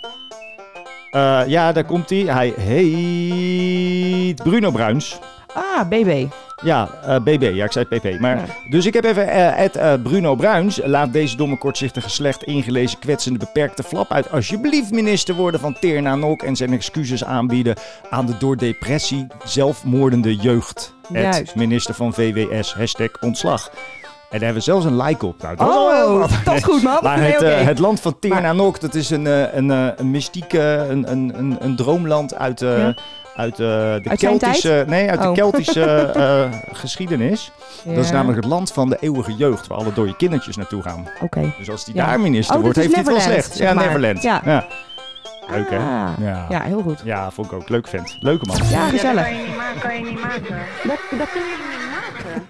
C: Eh, ja, daar komt hij. Hij heet Bruno Bruins.
D: Ah, BB.
C: Ja, eh, BB. Ja, ik zei PP. Maar, Dus ik heb even eh at, eh, Bruno Bruins. Laat deze domme kortzichtige slecht ingelezen kwetsende beperkte flap uit alsjeblieft minister worden van Teerna Nok en zijn excuses aanbieden aan de door depressie zelfmoordende jeugd. At
D: Juist.
C: minister van VWS. Hashtag ontslag. En daar hebben we zelfs een like op. Nou, dat is
D: Oh,
C: al heel wat.
D: (laughs) dat is goed, man.
C: Maar
D: Nee,
C: het, eh,
D: oké.
C: het land van Teerna Nok, dat is een, eh, een, eh, een mystieke, een, een, een, een droomland uit, eh,
D: Ja.
C: uit eh, de
D: Uit zijn
C: Keltische,
D: tijd?
C: nee, uit de
D: Oh.
C: Keltische
D: (laughs)
C: eh, geschiedenis. Dat is
D: Ja.
C: namelijk het land van de eeuwige jeugd, waar alle dode kindertjes naartoe gaan.
D: Oké.
C: Dus als die
D: Ja.
C: daar minister
D: Oh, dit
C: wordt, heeft
D: is
C: hij het wel
D: Neverland,
C: slecht.
D: zeg
C: ja,
D: maar.
C: Neverland.
D: Ja. Ah.
C: Leuk, hè? Ja.
D: Ja, heel goed.
C: Ja, vond ik ook. Leuk vent. Leuke man.
D: Ja,
L: dat
D: gezellig.
L: kan je niet maken, kan je niet maken. Dat, dat kunnen jullie niet maken.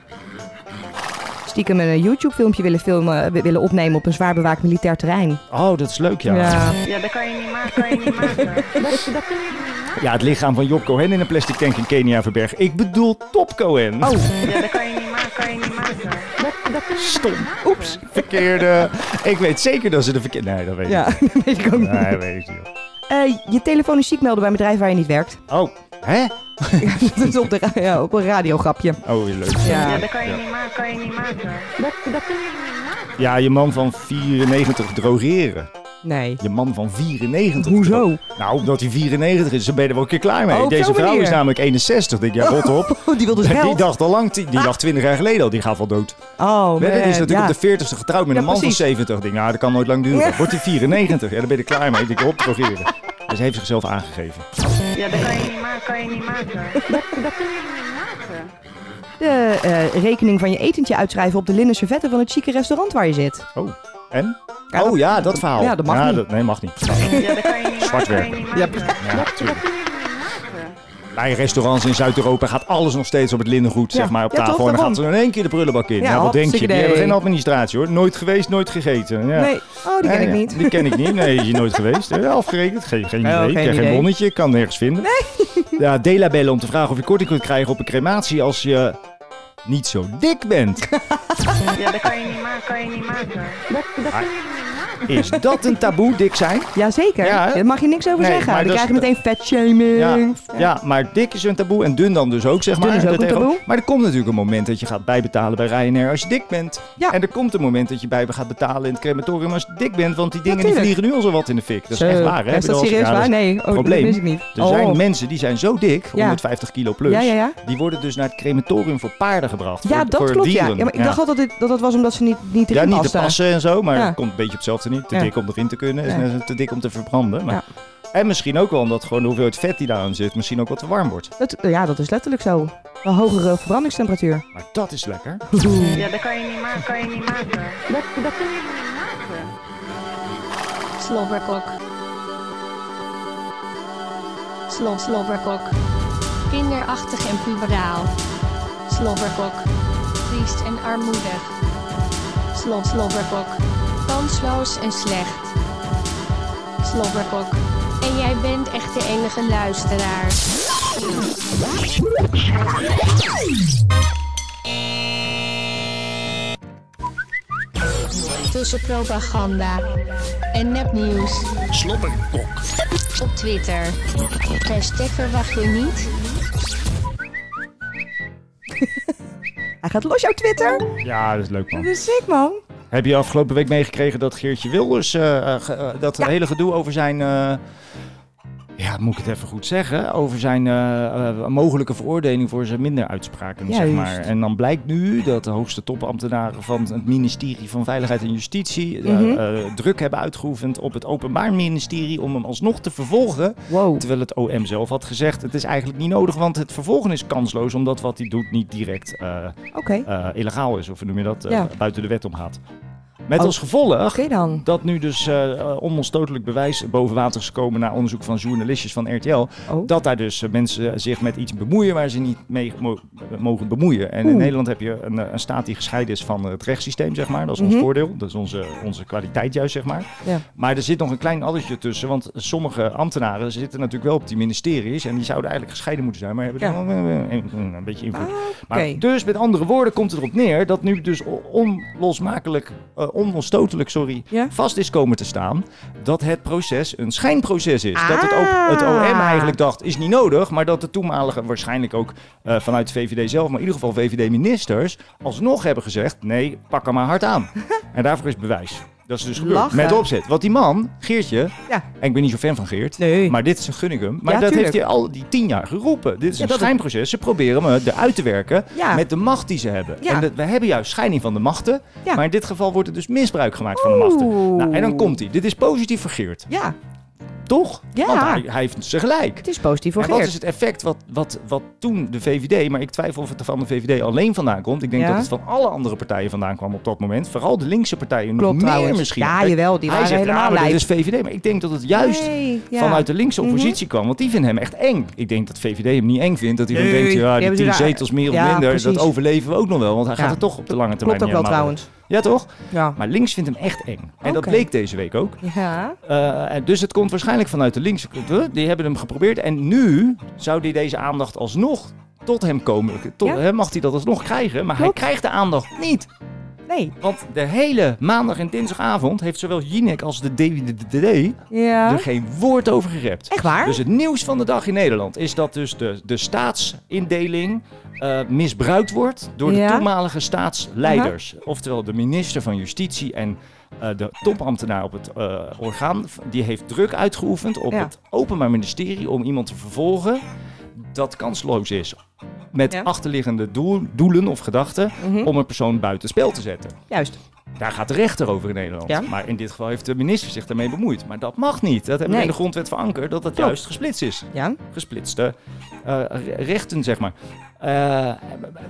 D: Stiekem een eh, YouTube-filmpje willen, filmen, eh, wi- willen opnemen op een zwaar bewaakt militair terrein.
C: Oh, dat is leuk, ja.
D: Ja.
L: Ja, dat kan je niet maken, kan je niet maken. Dat, dat kunnen jullie niet maken.
C: Ja, het lichaam van Job Cohen in een plastic tank in Kenia verbergen. Ik bedoel Top Cohen.
D: Oh.
L: Ja, dat kan je niet maken, kan je niet maken. Dat, dat kunnen
C: Stom. Oeps. Verkeerde. Ik weet zeker dat ze de verkeerde... Nee, dat weet ik
D: Ja, (laughs)
C: niet.
D: dat weet ik ook niet.
C: Nee, dat weet ik niet.
D: Eh, je telefoon is ziek melden bij een bedrijf waar je niet werkt. (laughs)
C: Oh, hè?
D: dat is op, de
C: (laughs)
D: ra- ja, op een radiograpje.
C: Oh, leuk.
D: Ja.
L: dat kan je niet maken, kan je niet maken. Dat, dat kunnen jullie niet maken.
C: Ja, je man van 94 drogeren.
D: Nee.
C: Je man van 94. Hoezo? Nou, omdat hij 94 is, dan ben je er wel een keer klaar mee.
D: Oh, op
C: Deze
D: zo'n
C: vrouw
D: manier.
C: is namelijk 61. Denk, ja, rot op.
D: die wil dus
C: Die
D: geld.
C: dacht al lang, die, die dacht 20 jaar geleden al, die gaat wel dood.
D: Oh,
C: Nee, dat
D: man,
C: is natuurlijk
D: ja.
C: op de 40ste getrouwd met
D: Ja,
C: een man
D: precies.
C: van 70. Denk, nou, dat kan nooit lang duren. Wordt hij 94? Ja, dan ben je er klaar mee. Ik Denk, op, drogeren. Dus hij heeft zichzelf aangegeven.
L: Ja, dat kan je niet maken, kan je niet maken. Dat, dat kunnen jullie niet maken.
D: De eh, rekening van je etentje uitschrijven op de linnen servetten van het chique restaurant waar je zit.
C: Oh, en? oh ja, dat verhaal.
D: Ja, dat mag niet.
C: nee, mag niet. Zwart werken.
D: Ja,
C: Ja, natuurlijk. Bij restaurants in Zuid-Europa gaat alles nog steeds op het linnengoed,
D: Ja.
C: zeg maar, op
D: Ja,
C: tafel.
D: toch,
C: en dan
D: daarom.
C: gaat ze in één keer de prullenbak in.
D: Ja,
C: Ja, wat denk je? Die
D: hopsakee.
C: hebben geen administratie hoor. Nooit geweest, nooit gegeten. Ja.
D: Nee, oh, die
C: Ja,
D: ken ik
C: ja.
D: niet.
C: Die ken ik niet. Nee, is je nooit geweest. Ja, afgerekend. Geen, geen
D: Oh,
C: idee.
D: geen
C: Geen, geen
D: idee.
C: bonnetje. Kan nergens vinden.
D: (laughs)
C: Nee. Ja, Dela bellen om te vragen of je korting kunt krijgen op een crematie als je niet zo dik
D: (laughs)
C: bent.
L: Ja, dat kan je niet maken, kan je niet maken. Dat, dat kunnen jullie niet maken.
C: Is dat een taboe, dik zijn?
D: Jazeker.
C: Ja, hè?
D: Daar mag je niks over
C: Nee,
D: zeggen.
C: maar
D: Dan
C: dat is-
D: krijg je meteen fat shaming.
C: Ja, ja, maar dik is een taboe en dun dan dus ook, zeg maar.
D: Dun is ook
C: Dat
D: een
C: tegenover-
D: taboe.
C: Maar er komt natuurlijk een moment dat je gaat bijbetalen bij Ryanair als je dik bent.
D: Ja.
C: En er komt een moment dat je bij gaat betalen in het crematorium als je dik bent. Want die dingen die
D: Natuurlijk.
C: vliegen nu al zo wat in de fik. Dat is
D: Zo.
C: echt waar, hè?
D: Is dat
C: Bedoel, als-
D: eh, serieus
C: ja,
D: waar?
C: is
D: Nee.
C: het
D: Oh, dat
C: probleem.
D: wist ik niet.
C: Er zijn
D: Oh.
C: mensen die zijn zo dik,
D: Ja.
C: 150 kilo plus.
D: Ja, ja, ja.
C: Die worden dus naar het crematorium voor paarden gebracht.
D: Ja,
C: voor,
D: dat
C: voor
D: klopt. Ja.
C: dieren.
D: ja, maar ik dacht altijd dat, dat dat was omdat ze niet, niet
C: Ja,
D: erin
C: niet te
D: pasten.
C: passen en zo, maar
D: Ja.
C: het komt een beetje op hetzelfde niet. Te
D: Ja.
C: dik om erin te kunnen, is
D: Nee.
C: net als te dik om te verbranden. Maar...
D: Ja.
C: En misschien ook wel omdat gewoon de hoeveelheid vet die daarin zit misschien ook wat te warm wordt.
D: Dat, ja, dat is letterlijk zo. Een hogere verbrandingstemperatuur.
C: Maar dat is lekker.
L: Ja, dat kan je niet maken, kan je niet maken. Dat, dat kunnen jullie niet maken.
G: Slobberkok. Slob slobberkok. Kinderachtig en puberaal. Slobberkok. Triest en armoedig. Slob slobberkok. Kansloos en slecht. Slobberkok. En jij bent echt de enige luisteraar. Tussen propaganda en nepnieuws.
B: Slobberkok.
G: Op Twitter. Hashtag verwacht je niet.
D: Hij gaat los jouw Twitter.
C: Ja, dat is leuk
D: Dat
C: man.
D: is sick, man.
C: Heb je afgelopen week meegekregen dat Geertje Wilders, eh, eh, ge- eh, dat hele gedoe over zijn, eh, ja moet ik het even goed zeggen, over zijn eh, eh, mogelijke veroordeling voor zijn minder uitspraken, zeg
D: Juist.
C: maar. En dan blijkt nu dat de hoogste topambtenaren van het ministerie van Veiligheid en Justitie eh,
D: Mhm.
C: eh, druk hebben uitgeoefend op het openbaar ministerie om hem alsnog te vervolgen. Terwijl het OM zelf had gezegd, het is eigenlijk niet nodig, want het vervolgen is kansloos, omdat wat hij doet niet direct eh,
D: Oké.
C: eh, illegaal is, of hoe noem je dat, eh,
D: Ja.
C: buiten de wet omgaat. Met
D: Oh.
C: als gevolg
D: Oké dan.
C: dat nu dus eh, eh, onomstotelijk bewijs boven water is gekomen na onderzoek van journalistjes van RTL,
D: Oh.
C: dat daar dus eh, mensen zich met iets bemoeien waar ze niet mee mo- mogen bemoeien. En in
D: Oeh.
C: Nederland heb je een, eh, een staat die gescheiden is van het rechtssysteem, zeg maar. Dat is
D: Mhm.
C: ons voordeel, dat is onze, onze kwaliteit juist, zeg maar.
D: Ja.
C: Maar er zit nog een klein addertje tussen, want sommige ambtenaren zitten natuurlijk wel op die ministeries en die zouden eigenlijk gescheiden moeten zijn, maar hebben
D: Ja. Ah,
C: dan wel, eh, een, een- een beetje invloed.
D: oké.
C: maar dus met andere woorden komt het erop neer dat nu dus o- onlosmakelijk eh, onontstotelijk, sorry, vast is komen te staan dat het proces een schijnproces is. Dat het, ook, het
D: Ah.
C: OM eigenlijk dacht, is niet nodig, maar dat de toenmalige, waarschijnlijk ook eh, vanuit VVD zelf, maar in ieder geval VVD-ministers, alsnog hebben gezegd, nee, pak hem maar hard
D: (laughs)
C: aan. en daarvoor is bewijs. Dat is dus gebeurd.
D: Lachen.
C: Met opzet. Want die man, Geertje,
D: Ja.
C: en ik ben niet zo fan van Geert, maar dit is een gunnigum. Maar
D: Ja,
C: dat
D: tuurlijk.
C: heeft hij al die tien jaar geroepen. Dit is
D: Ja,
C: een
D: dat-
C: schijnproces. Ze proberen me eruit te werken
D: Ja.
C: met de macht die ze hebben.
D: Ja.
C: En dat, we hebben juist scheiding van de machten.
D: Ja.
C: Maar in dit geval wordt er dus misbruik gemaakt van de machten. Nou, en dan komt hij. Dit is positief voor Geert.
D: Ja.
C: Toch?
D: Ja.
C: Want hij, hij heeft ze gelijk. Het
D: is positief voor
C: En wat
D: Geert.
C: is het effect wat, wat, wat toen de VVD, maar ik twijfel of het er van de VVD alleen vandaan komt. Ik denk
D: Ja.
C: dat het van alle andere partijen vandaan kwam op dat moment. Vooral de linkse partijen nog
D: Klopt
C: meer
D: trouwens.
C: misschien.
D: Ja, jawel, die
C: hij
D: waren
C: zegt,
D: helemaal
C: ja, maar dit
D: lijp.
C: is VVD. Maar ik denk dat het juist
D: Nee, ja.
C: vanuit de linkse
D: Mhm.
C: oppositie kwam. Want die vinden hem echt eng. Ik denk dat VVD hem niet eng vindt. Dat hij
D: Nee,
C: dan denkt,
D: die
C: ja, die
D: hebben ze
C: tien
D: daar-
C: zetels meer of
D: Ja,
C: minder, dat
D: precies.
C: overleven we ook nog wel. Want hij
D: Ja.
C: gaat er toch op de lange termijn
D: Klopt ook
C: niet
D: wel
C: helemaal
D: trouwens.
C: door. Ja, toch?
D: Ja.
C: Maar links vindt hem echt eng. En dat
D: Oké.
C: bleek deze week ook.
D: Ja.
C: Eh, en dus het komt waarschijnlijk vanuit de linkse kant. Die hebben hem geprobeerd. En nu zou die deze aandacht alsnog tot hem komen. Tot,
D: Ja.
C: hè, mag hij dat alsnog krijgen? Maar hij krijgt de aandacht niet.
D: Nee.
C: Want de hele maandag en dinsdagavond heeft zowel Jinek als de DWDD
D: Ja.
C: er geen woord over gerept.
D: Echt waar?
C: Dus het nieuws van de dag in Nederland is dat dus de, de staatsindeling eh, misbruikt wordt door de
D: Ja.
C: toenmalige staatsleiders. Oftewel de minister van Justitie en eh, de topambtenaar op het eh, orgaan. Die heeft druk uitgeoefend op
D: Ja.
C: het Openbaar Ministerie om iemand te vervolgen dat kansloos is. Met
D: Ja. Hm.
C: achterliggende doel- doelen of gedachten
D: Mhm.
C: om een persoon buitenspel te zetten.
D: Juist.
C: Daar gaat de rechter over in Nederland.
D: Ja.
C: Maar in dit geval heeft de minister zich daarmee bemoeid. Maar dat mag niet. Dat hebben we
D: Nee.
C: in de grondwet verankerd, dat dat
D: Klopt.
C: juist gesplitst is.
D: Ja.
C: Gesplitste eh, re- rechten, zeg maar. Eh,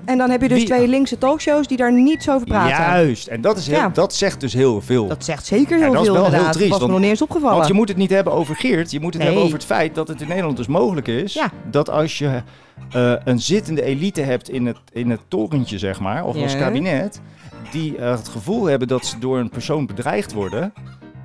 D: En dan heb je dus
C: Wie-
D: twee linkse talkshows die daar niets over praten.
C: juist. En dat, is heel,
D: Ja.
C: dat zegt dus heel veel.
D: Dat zegt zeker
C: eh, Ja,
D: heel
C: dat is
D: veel
C: wel heel
D: inderdaad.
C: triest,
D: Dat was
C: want-
D: me nog niet eens opgevallen.
C: Want je moet het niet hebben over Geert. Je moet het
D: Nee.
C: hebben over het feit dat het in Nederland dus mogelijk is. Dat als je eh, een zittende elite hebt in het, in het torentje, zeg maar. Of als
D: Ja.
C: kabinet. Die eh, het gevoel hebben dat ze door een persoon bedreigd worden.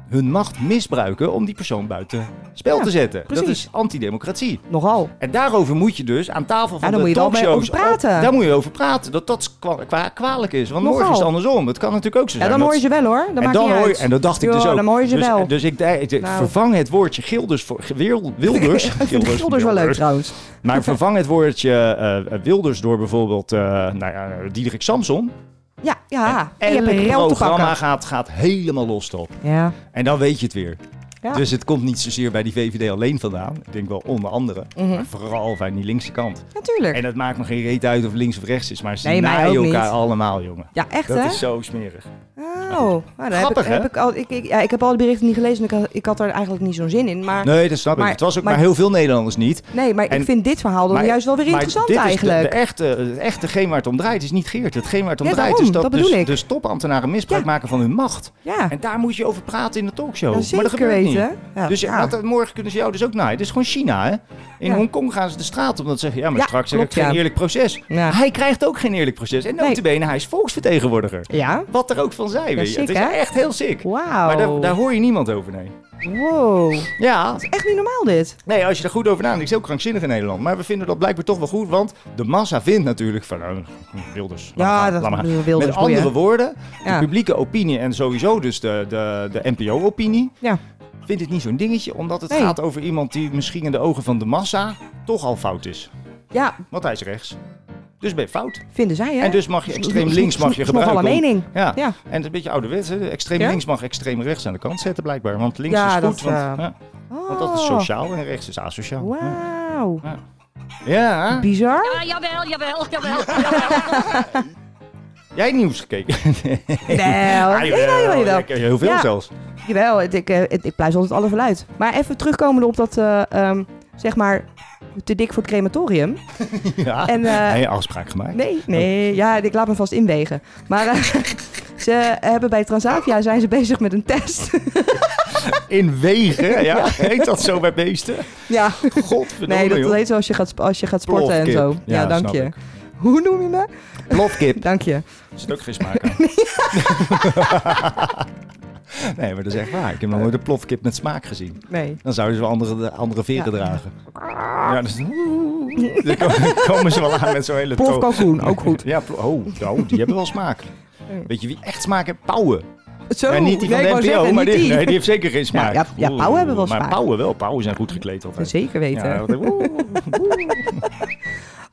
C: Hun macht misbruiken om die persoon buiten spel
D: Ja,
C: te zetten. Dat
D: precies.
C: is antidemocratie.
D: Nogal.
C: En daarover moet je dus aan tafel van
D: Ja, daar
C: de
D: moet je wel mee
C: talkshows...
D: over praten.
C: daar moet je over praten. Dat dat kwa- kwa- kwalijk is. Want morgen is
D: Nogal.
C: het andersom. Het kan natuurlijk ook zo
D: Ja,
C: zijn.
D: dan
C: dat-
D: hoor je ze wel hoor. Dat
C: en,
D: maakt
C: dan
D: niet
C: hoor je,
D: uit.
C: en dat dacht ik
D: Ja,
C: dus ook.
D: dan hoor je ze
C: dus,
D: wel.
C: Dus ik, ik- ik-
D: Nou.
C: vervang het woordje Gilders voor Wil- Wilders.
D: (laughs)
C: (laughs)
D: Gilders wel leuk trouwens. (laughs)
C: Maar vervang het woordje eh, Wilders door bijvoorbeeld eh nou ja, Diederik Samson.
D: Ja, ja. Ah, En,
C: En
D: je hebt een
C: het
D: rel te
C: programma
D: pakken.
C: gaat, gaat helemaal los op.
D: Ja.
C: En dan weet je het weer.
D: Ja.
C: Dus het komt niet zozeer bij die VVD alleen vandaan. Ik denk wel onder andere.
D: Mhm.
C: Maar vooral bij die linkse kant.
D: Natuurlijk.
C: En dat maakt me geen reet uit of links of rechts is. Maar ze
D: Nee, mij
C: naaien
D: ook niet.
C: elkaar allemaal, jongen.
D: Ja, echt,
C: dat
D: hè?
C: is zo smerig.
D: Oh, nou, daar
C: Grappig,
D: heb ik,
C: hè?
D: heb ik, al, ik, ik, ja, ik heb al die berichten niet gelezen en ik, had- ik had er eigenlijk niet zo'n zin in. Maar,
C: Nee, dat snap ik. Het was ook maar, heel veel Nederlanders niet.
D: Nee, maar
C: En-
D: ik vind dit verhaal dan
C: maar-
D: juist wel weer
C: maar
D: interessant
C: dit is de-
D: eigenlijk.
C: De, echte, het echte geen waar het om draait is niet Geert. Hetgeen waar het om
D: Ja,
C: draait
D: daarom,
C: is dat,
D: dat
C: dus,
D: bedoel ik.
C: dus topambtenaren misbruik maken van hun macht. En daar moet je over praten in de talkshow.
D: Ja,
C: maar
D: zeker
C: dat gebeurt
D: weten.
C: niet.
D: Ja,
C: dus
D: ja.
C: wat- morgen kunnen ze jou dus ook naaien. Het is gewoon China, hè? In
D: Ja.
C: Hongkong gaan ze de straat op. Dan zeggen ja, maar
D: Ja,
C: straks heb ik
D: klopt,
C: geen
D: ja.
C: eerlijk proces. Hij krijgt ook geen eerlijk proces. En notabene, hij is volksvertegenwoordiger.
D: Ja.
C: Wat er ook van zij,
D: Ja,
C: weet je.
D: sick,
C: het is
D: hè?
C: echt heel sick.
D: Wauw.
C: Maar daar, daar hoor je niemand over, nee.
D: Wow.
C: Ja.
D: Dat is echt niet normaal dit.
C: Nee, als je er goed over nadenkt, is het heel krankzinnig in Nederland. Maar we vinden dat blijkbaar toch wel goed, want de massa vindt natuurlijk van nou, Wilders. laat
D: Ja,
C: maar gaan,
D: dat
C: laat maar gaan.
D: bedoel- Wilders,
C: Met andere
D: boeien.
C: woorden,
D: Ja.
C: de publieke opinie en sowieso dus de, de, de NPO-opinie
D: Ja.
C: vindt het niet zo'n dingetje, omdat het
D: Nee.
C: gaat over iemand die misschien in de ogen van de massa toch al fout is.
D: Ja,
C: Want hij is rechts. Dus ben je fout.
D: vinden zij hè.
C: En dus mag je extreem links mag je
D: Is nogal
C: gebruiken.
D: een
C: om-
D: mening.
C: Ja.
D: Ja.
C: En het is een beetje ouderwets. hè. Extreem
D: Ja?
C: links mag extreem rechts aan de kant zetten blijkbaar. Want links
D: Ja,
C: is goed.
D: dat,
C: want,
D: eh,
C: ja. want dat is
D: Oh.
C: sociaal en rechts is asociaal.
D: Wauw.
C: Ja.
D: Bizar.
N: Ja, jawel, jawel, jawel.
C: Jij nieuws gekeken?
D: (laughs)
C: nee.
D: Wel,
C: Ah,
D: jawel, jawel, jawel.
C: Ik ken Heel veel
D: Ja.
C: zelfs.
D: Jawel, het- ik, eh, het- ik pluis altijd alles wel uit. Maar even terugkomende op dat, eh, ehm, zeg maar, te dik voor het crematorium.
C: (laughs) Ja.
D: En, eh,
C: nee, afspraak gemaakt.
D: Nee, nee, ja, ik laat me vast inwegen. Maar eh, (laughs) ze hebben bij Transavia zijn ze bezig met een test. (laughs)
C: In wegen, ja.
D: Ja.
C: Heet dat zo bij beesten?
D: ja.
C: Godverdomme,
D: Nee, dat
C: joh.
D: heet zo als je gaat, sp- als je gaat sporten en
C: Plofkip.
D: zo. Ja,
C: Ja,
D: dank
C: snap
D: je.
C: ik.
D: Hoe noem je me?
C: Plofkip. (laughs)
D: dank je.
C: Er zit ook geen smaak
D: (laughs)
C: aan. (laughs) nee, maar dat is echt waar. Ik heb nog nooit een plofkip met smaak gezien.
D: Nee.
C: Dan zouden ze wel andere, andere veren dragen. Ja, dat is... (laughs) Dan komen- komen ze wel aan met zo'n hele...
D: Plofkalkoen,
C: (laughs) ook goed. Ja, plo- oh, nou, die hebben wel smaak. Weet je wie echt smaak heeft? Pauwen.
D: Zo,
C: Ja, niet die van
D: nee, ik
C: de
D: wou
C: NPO,
D: zeggen,
C: maar
D: niet
C: die,
D: die.
C: Nee, die heeft zeker geen smaak.
D: ja, ja, pauwen
C: Oeh,
D: hebben wel
C: Maar
D: smaak.
C: pauwen wel, pauwen zijn goed gekleed altijd.
D: Zeker weten.
C: Ja, dat- oeh.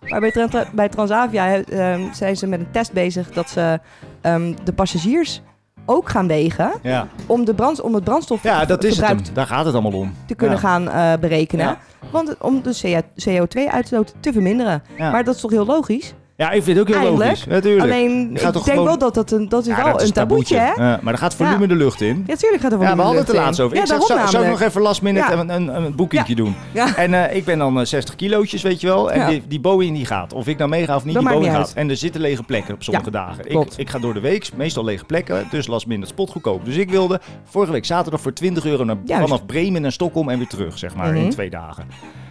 D: Maar bij, Tran- Tran- bij Transavia hè, ehm, zijn ze met een test bezig dat ze ehm, de passagiers ook gaan wegen
C: Ja.
D: om, de brand, om het brandstof
C: ja, dat is het
D: verbruik
C: hem. Daar gaat het allemaal om.
D: te kunnen
C: Ja.
D: gaan eh, berekenen.
C: Ja.
D: Want om de CO2-uitstoot te verminderen.
C: Ja.
D: Maar dat is toch heel logisch?
C: Ja, ik vind het ook heel
D: Eigenlijk.
C: logisch. Natuurlijk. Je
D: Alleen,
C: gaat toch
D: ik denk
C: gewoon-
D: wel dat dat een, dat is
C: Ja,
D: wel
C: dat
D: een taboetje, hè?
C: Ja, maar er gaat volume
D: Ja.
C: de lucht in.
D: Ja, tuurlijk gaat er wel
C: Ja, we hadden het er laatst over.
D: Ja,
C: ik zeg,
D: daarom
C: zou, zou ik
D: namelijk.
C: nog even last minute
D: Ja.
C: een, een, een boekingje doen?
D: Ja.
C: En eh, ik ben dan eh, 60 kilootjes, weet je wel. En
D: Ja.
C: die, die Boeing die gaat. Of ik nou meega of niet, die
D: Dat maakt
C: Boeing
D: niet
C: gaat. En er zitten lege plekken op sommige dagen. Ik,
D: klopt.
C: ik ga door de week, meestal lege plekken. Dus last minute spot goedkoop. Dus ik wilde vorige week zaterdag voor 20 euro naar,
D: Juist.
C: vanaf Bremen naar Stockholm en weer terug, zeg maar,
D: Mhm.
C: in twee dagen.